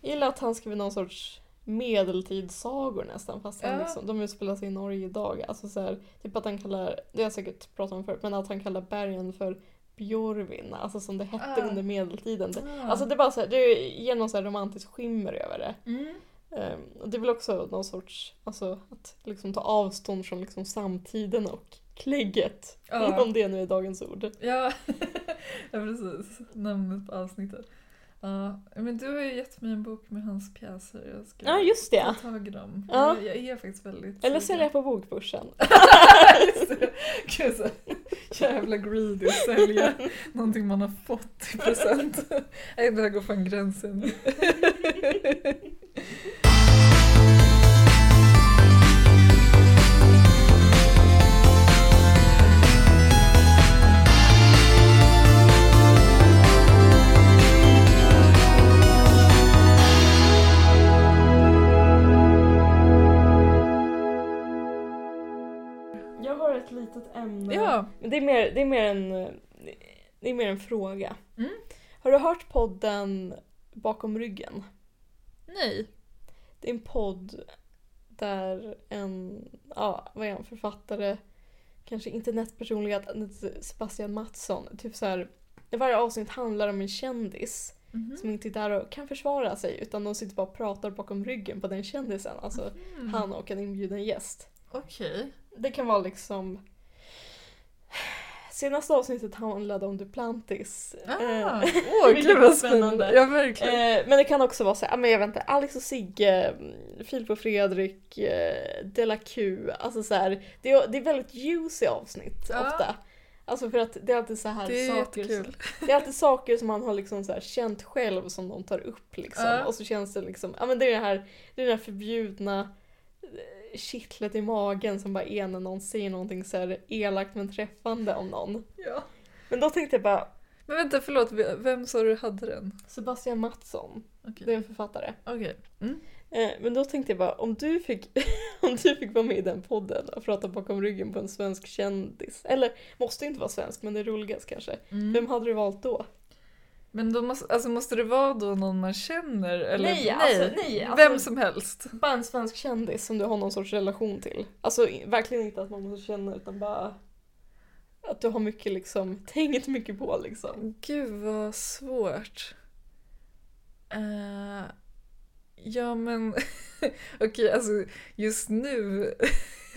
S2: Jag gillar att han skriver någon sorts medeltidssagor nästan, fast han
S3: Ja.
S2: liksom, de utspelar sig i Norge idag. Alltså så här, typ att han kallar, det har jag säkert pratat om förut, men att han kallar bergen för Björvin, alltså som det hette
S3: Ah.
S2: under medeltiden. Det,
S3: Ah.
S2: alltså det är bara så här, det ger någon så här romantisk skimmer över det.
S3: Mm.
S2: Ehm, och det är väl också någon sorts, alltså att liksom ta avstånd från liksom samtiden och klägget.
S3: Ja.
S2: Om det nu är dagens ord.
S3: Ja, ja precis. Namnet på avsnittet. Ja, men du har ju gett mig en bok med hans pjäser. Jag ska
S2: Ja, just
S3: ta
S2: det.
S3: tag i dem.
S2: Ja.
S3: Jag, jag är faktiskt väldigt...
S2: Eller sälja på bokbörsen.
S3: Just det. Gud, så Jävla greedy att sälja någonting man har fått i present. Nej, det här går fan gränsen.
S2: Jag har ett litet ämne.
S3: Ja.
S2: Men det, är mer, det, är mer en, eh, det är mer en fråga.
S3: Mm.
S2: Har du hört podden Bakom ryggen?
S3: Nej.
S2: Det är en podd där en, ja, vad är han, författare, kanske internetpersonlighet, Sebastian Mattsson, typ så här, varje avsnitt handlar om en kändis som inte är där och kan försvara sig utan de sitter bara och pratar bakom ryggen på den kändisen, alltså
S3: Mm.
S2: han Eh, och en inbjuden gäst.
S3: Mm-hmm. Okej.
S2: Det kan vara liksom Senaste avsnittet handlade om Duplantis. Eh,
S3: Ah, Åh, gud vad spännande. Ja, verkligen.
S2: Eh, men det kan också vara så här, ah, men jag vet inte, Alex och Sigge, mm, Filip och Fredrik, eh, Della Q. Alltså så här, det, är, det är väldigt juicy avsnitt
S3: Ja.
S2: ofta. Alltså för att det är alltid så här
S3: det är
S2: saker
S3: jättekul.
S2: som, Det är alltid saker som man har liksom så här känt själv som de tar upp liksom.
S3: Ja.
S2: Och så känns det liksom, ja men det är det här, det är det här förbjudna eh, kittlet i magen som bara är när någon säger någonting så här elakt men träffande om någon.
S3: Ja.
S2: Men då tänkte jag bara,
S3: Men vänta, förlåt. v- Vem sa du hade den?
S2: Sebastian Mattsson,
S3: Okej.
S2: det är en författare.
S3: Okej. Mm.
S2: Eh, Men då tänkte jag bara, om du, fick, om du fick vara med i den podden och prata bakom ryggen på en svensk kändis, eller måste inte vara svensk men det är roligast kanske, vem hade du valt då?
S3: Men då måste, alltså, måste det vara då någon man känner? Eller?
S2: Nej, alltså, nej, alltså-
S3: Vem som helst.
S2: Bara en svensk kändis som du har någon sorts relation till. Alltså i- verkligen inte att man måste känna utan bara att du har mycket liksom, tänkt mycket på liksom.
S3: Gud vad svårt. Eh, ja men okej alltså just nu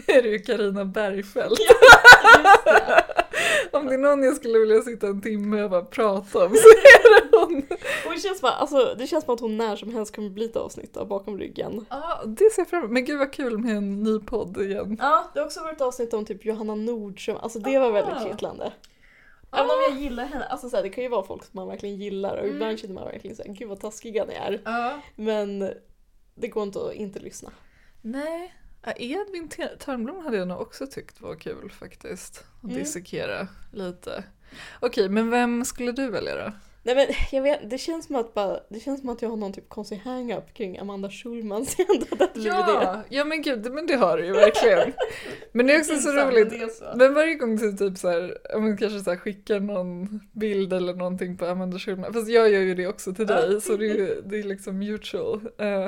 S3: är det ju Carina Bergfeldt. om det är någon jag skulle vilja sitta en timme och bara prata om så är det hon.
S2: Och det känns, bara, alltså, det känns som att hon när som helst kommer bli ett avsnitt av bakom ryggen.
S3: Ja det ser jag fram emot. Men gud vad kul med en ny podd igen.
S2: Ja, det har också varit ett avsnitt om typ Johanna Nordström, alltså det var väldigt
S3: Ah.
S2: kittlande.
S3: Ah.
S2: Även om jag gillar henne, alltså så här, det kan ju vara folk som man verkligen gillar och
S3: Mm.
S2: ibland känner man verkligen såhär, gud vad taskiga ni är.
S3: Ja.
S2: Men det går inte att inte lyssna.
S3: Nej. Ja, Edvin Te- Törnblom hade jag nog också tyckt var kul faktiskt. Att
S2: Mm.
S3: dissekera lite. Okej, men vem skulle du välja då?
S2: Nej men jag vet, det känns som att, bara, det känns som att jag har någon typ konstig hang-up kring Amanda Schulman sen då det blir det.
S3: Ja, ja men gud, men det har du ju verkligen. Men det är också så
S2: Pinsamt,
S3: roligt.
S2: men det är så.
S3: Men varje gång du typ så här, ja, men kanske så här skickar någon bild eller någonting på Amanda Schulman, fast jag gör ju det också till dig så det är, ju- det är liksom mutual. Eh,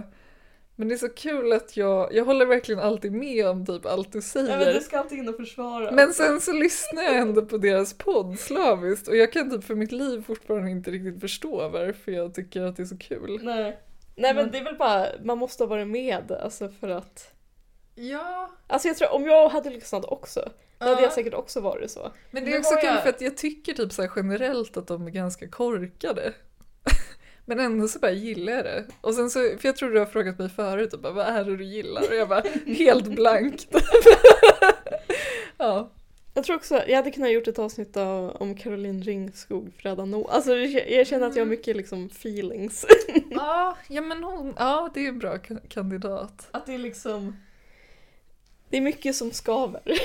S3: men det är så kul att jag, jag håller verkligen alltid med om typ allt du
S2: Nej
S3: säger.
S2: men du ska alltid in och försvara.
S3: Men sen så lyssnar jag ändå på deras podd slaviskt och jag kan typ för mitt liv fortfarande inte riktigt förstå varför jag tycker att det är så kul.
S2: Nej. Nej men
S3: Men-
S2: det är väl bara, man måste ha varit med alltså för att.
S3: Ja,
S2: Alltså jag tror, om jag hade lyssnat också, då hade jag säkert också varit så.
S3: men det
S2: Nu
S3: är också
S2: har
S3: kul
S2: jag-
S3: för att jag tycker typ så här generellt att de är ganska korkade. Men ändå så bara gillar jag det. Och sen så, för jag tror du har frågat mig förut, och bara, vad är det du gillar? Och jag bara, helt blankt. ja.
S2: Jag tror också, jag hade kunnat gjort ett avsnitt av, om Caroline Ringskog, Freda No. Alltså det- jag känner att jag har mycket liksom feelings.
S3: ja, ja men hon, ja det är en bra k- kandidat.
S2: Att det är liksom... Det är mycket som skaver.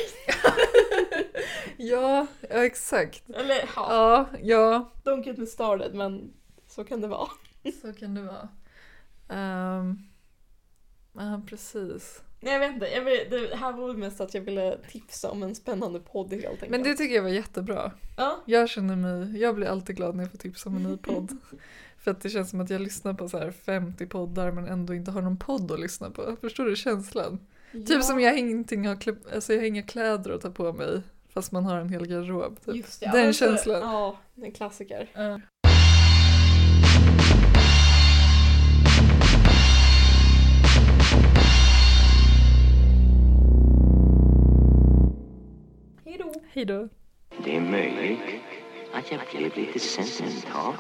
S3: Ja, ja exakt.
S2: Eller
S3: Ja, ja.
S2: don't get me started men så kan det vara.
S3: Så kan det vara. Ehm, ja, precis.
S2: Nej jag vet inte, jag vill, det här var mest att jag ville tipsa om en spännande podd helt enkelt.
S3: Men det tycker jag var jättebra.
S2: Ja.
S3: Jag känner mig, jag blir alltid glad när jag får tips om en ny podd. För att det känns som att jag lyssnar på så här 50 poddar men ändå inte har någon podd att lyssna på. Förstår du känslan? Typ som jag ingenting har klä, alltså jag har inga kläder att ta på mig fast man har en hel garderob. Typ.
S2: Just det, ja,
S3: Den
S2: men så-
S3: känslan.
S2: Ja, en klassiker.
S3: Ja.
S2: Hejdå!
S3: Hej då.
S1: Det är möjligt att jag blev lite sentimental.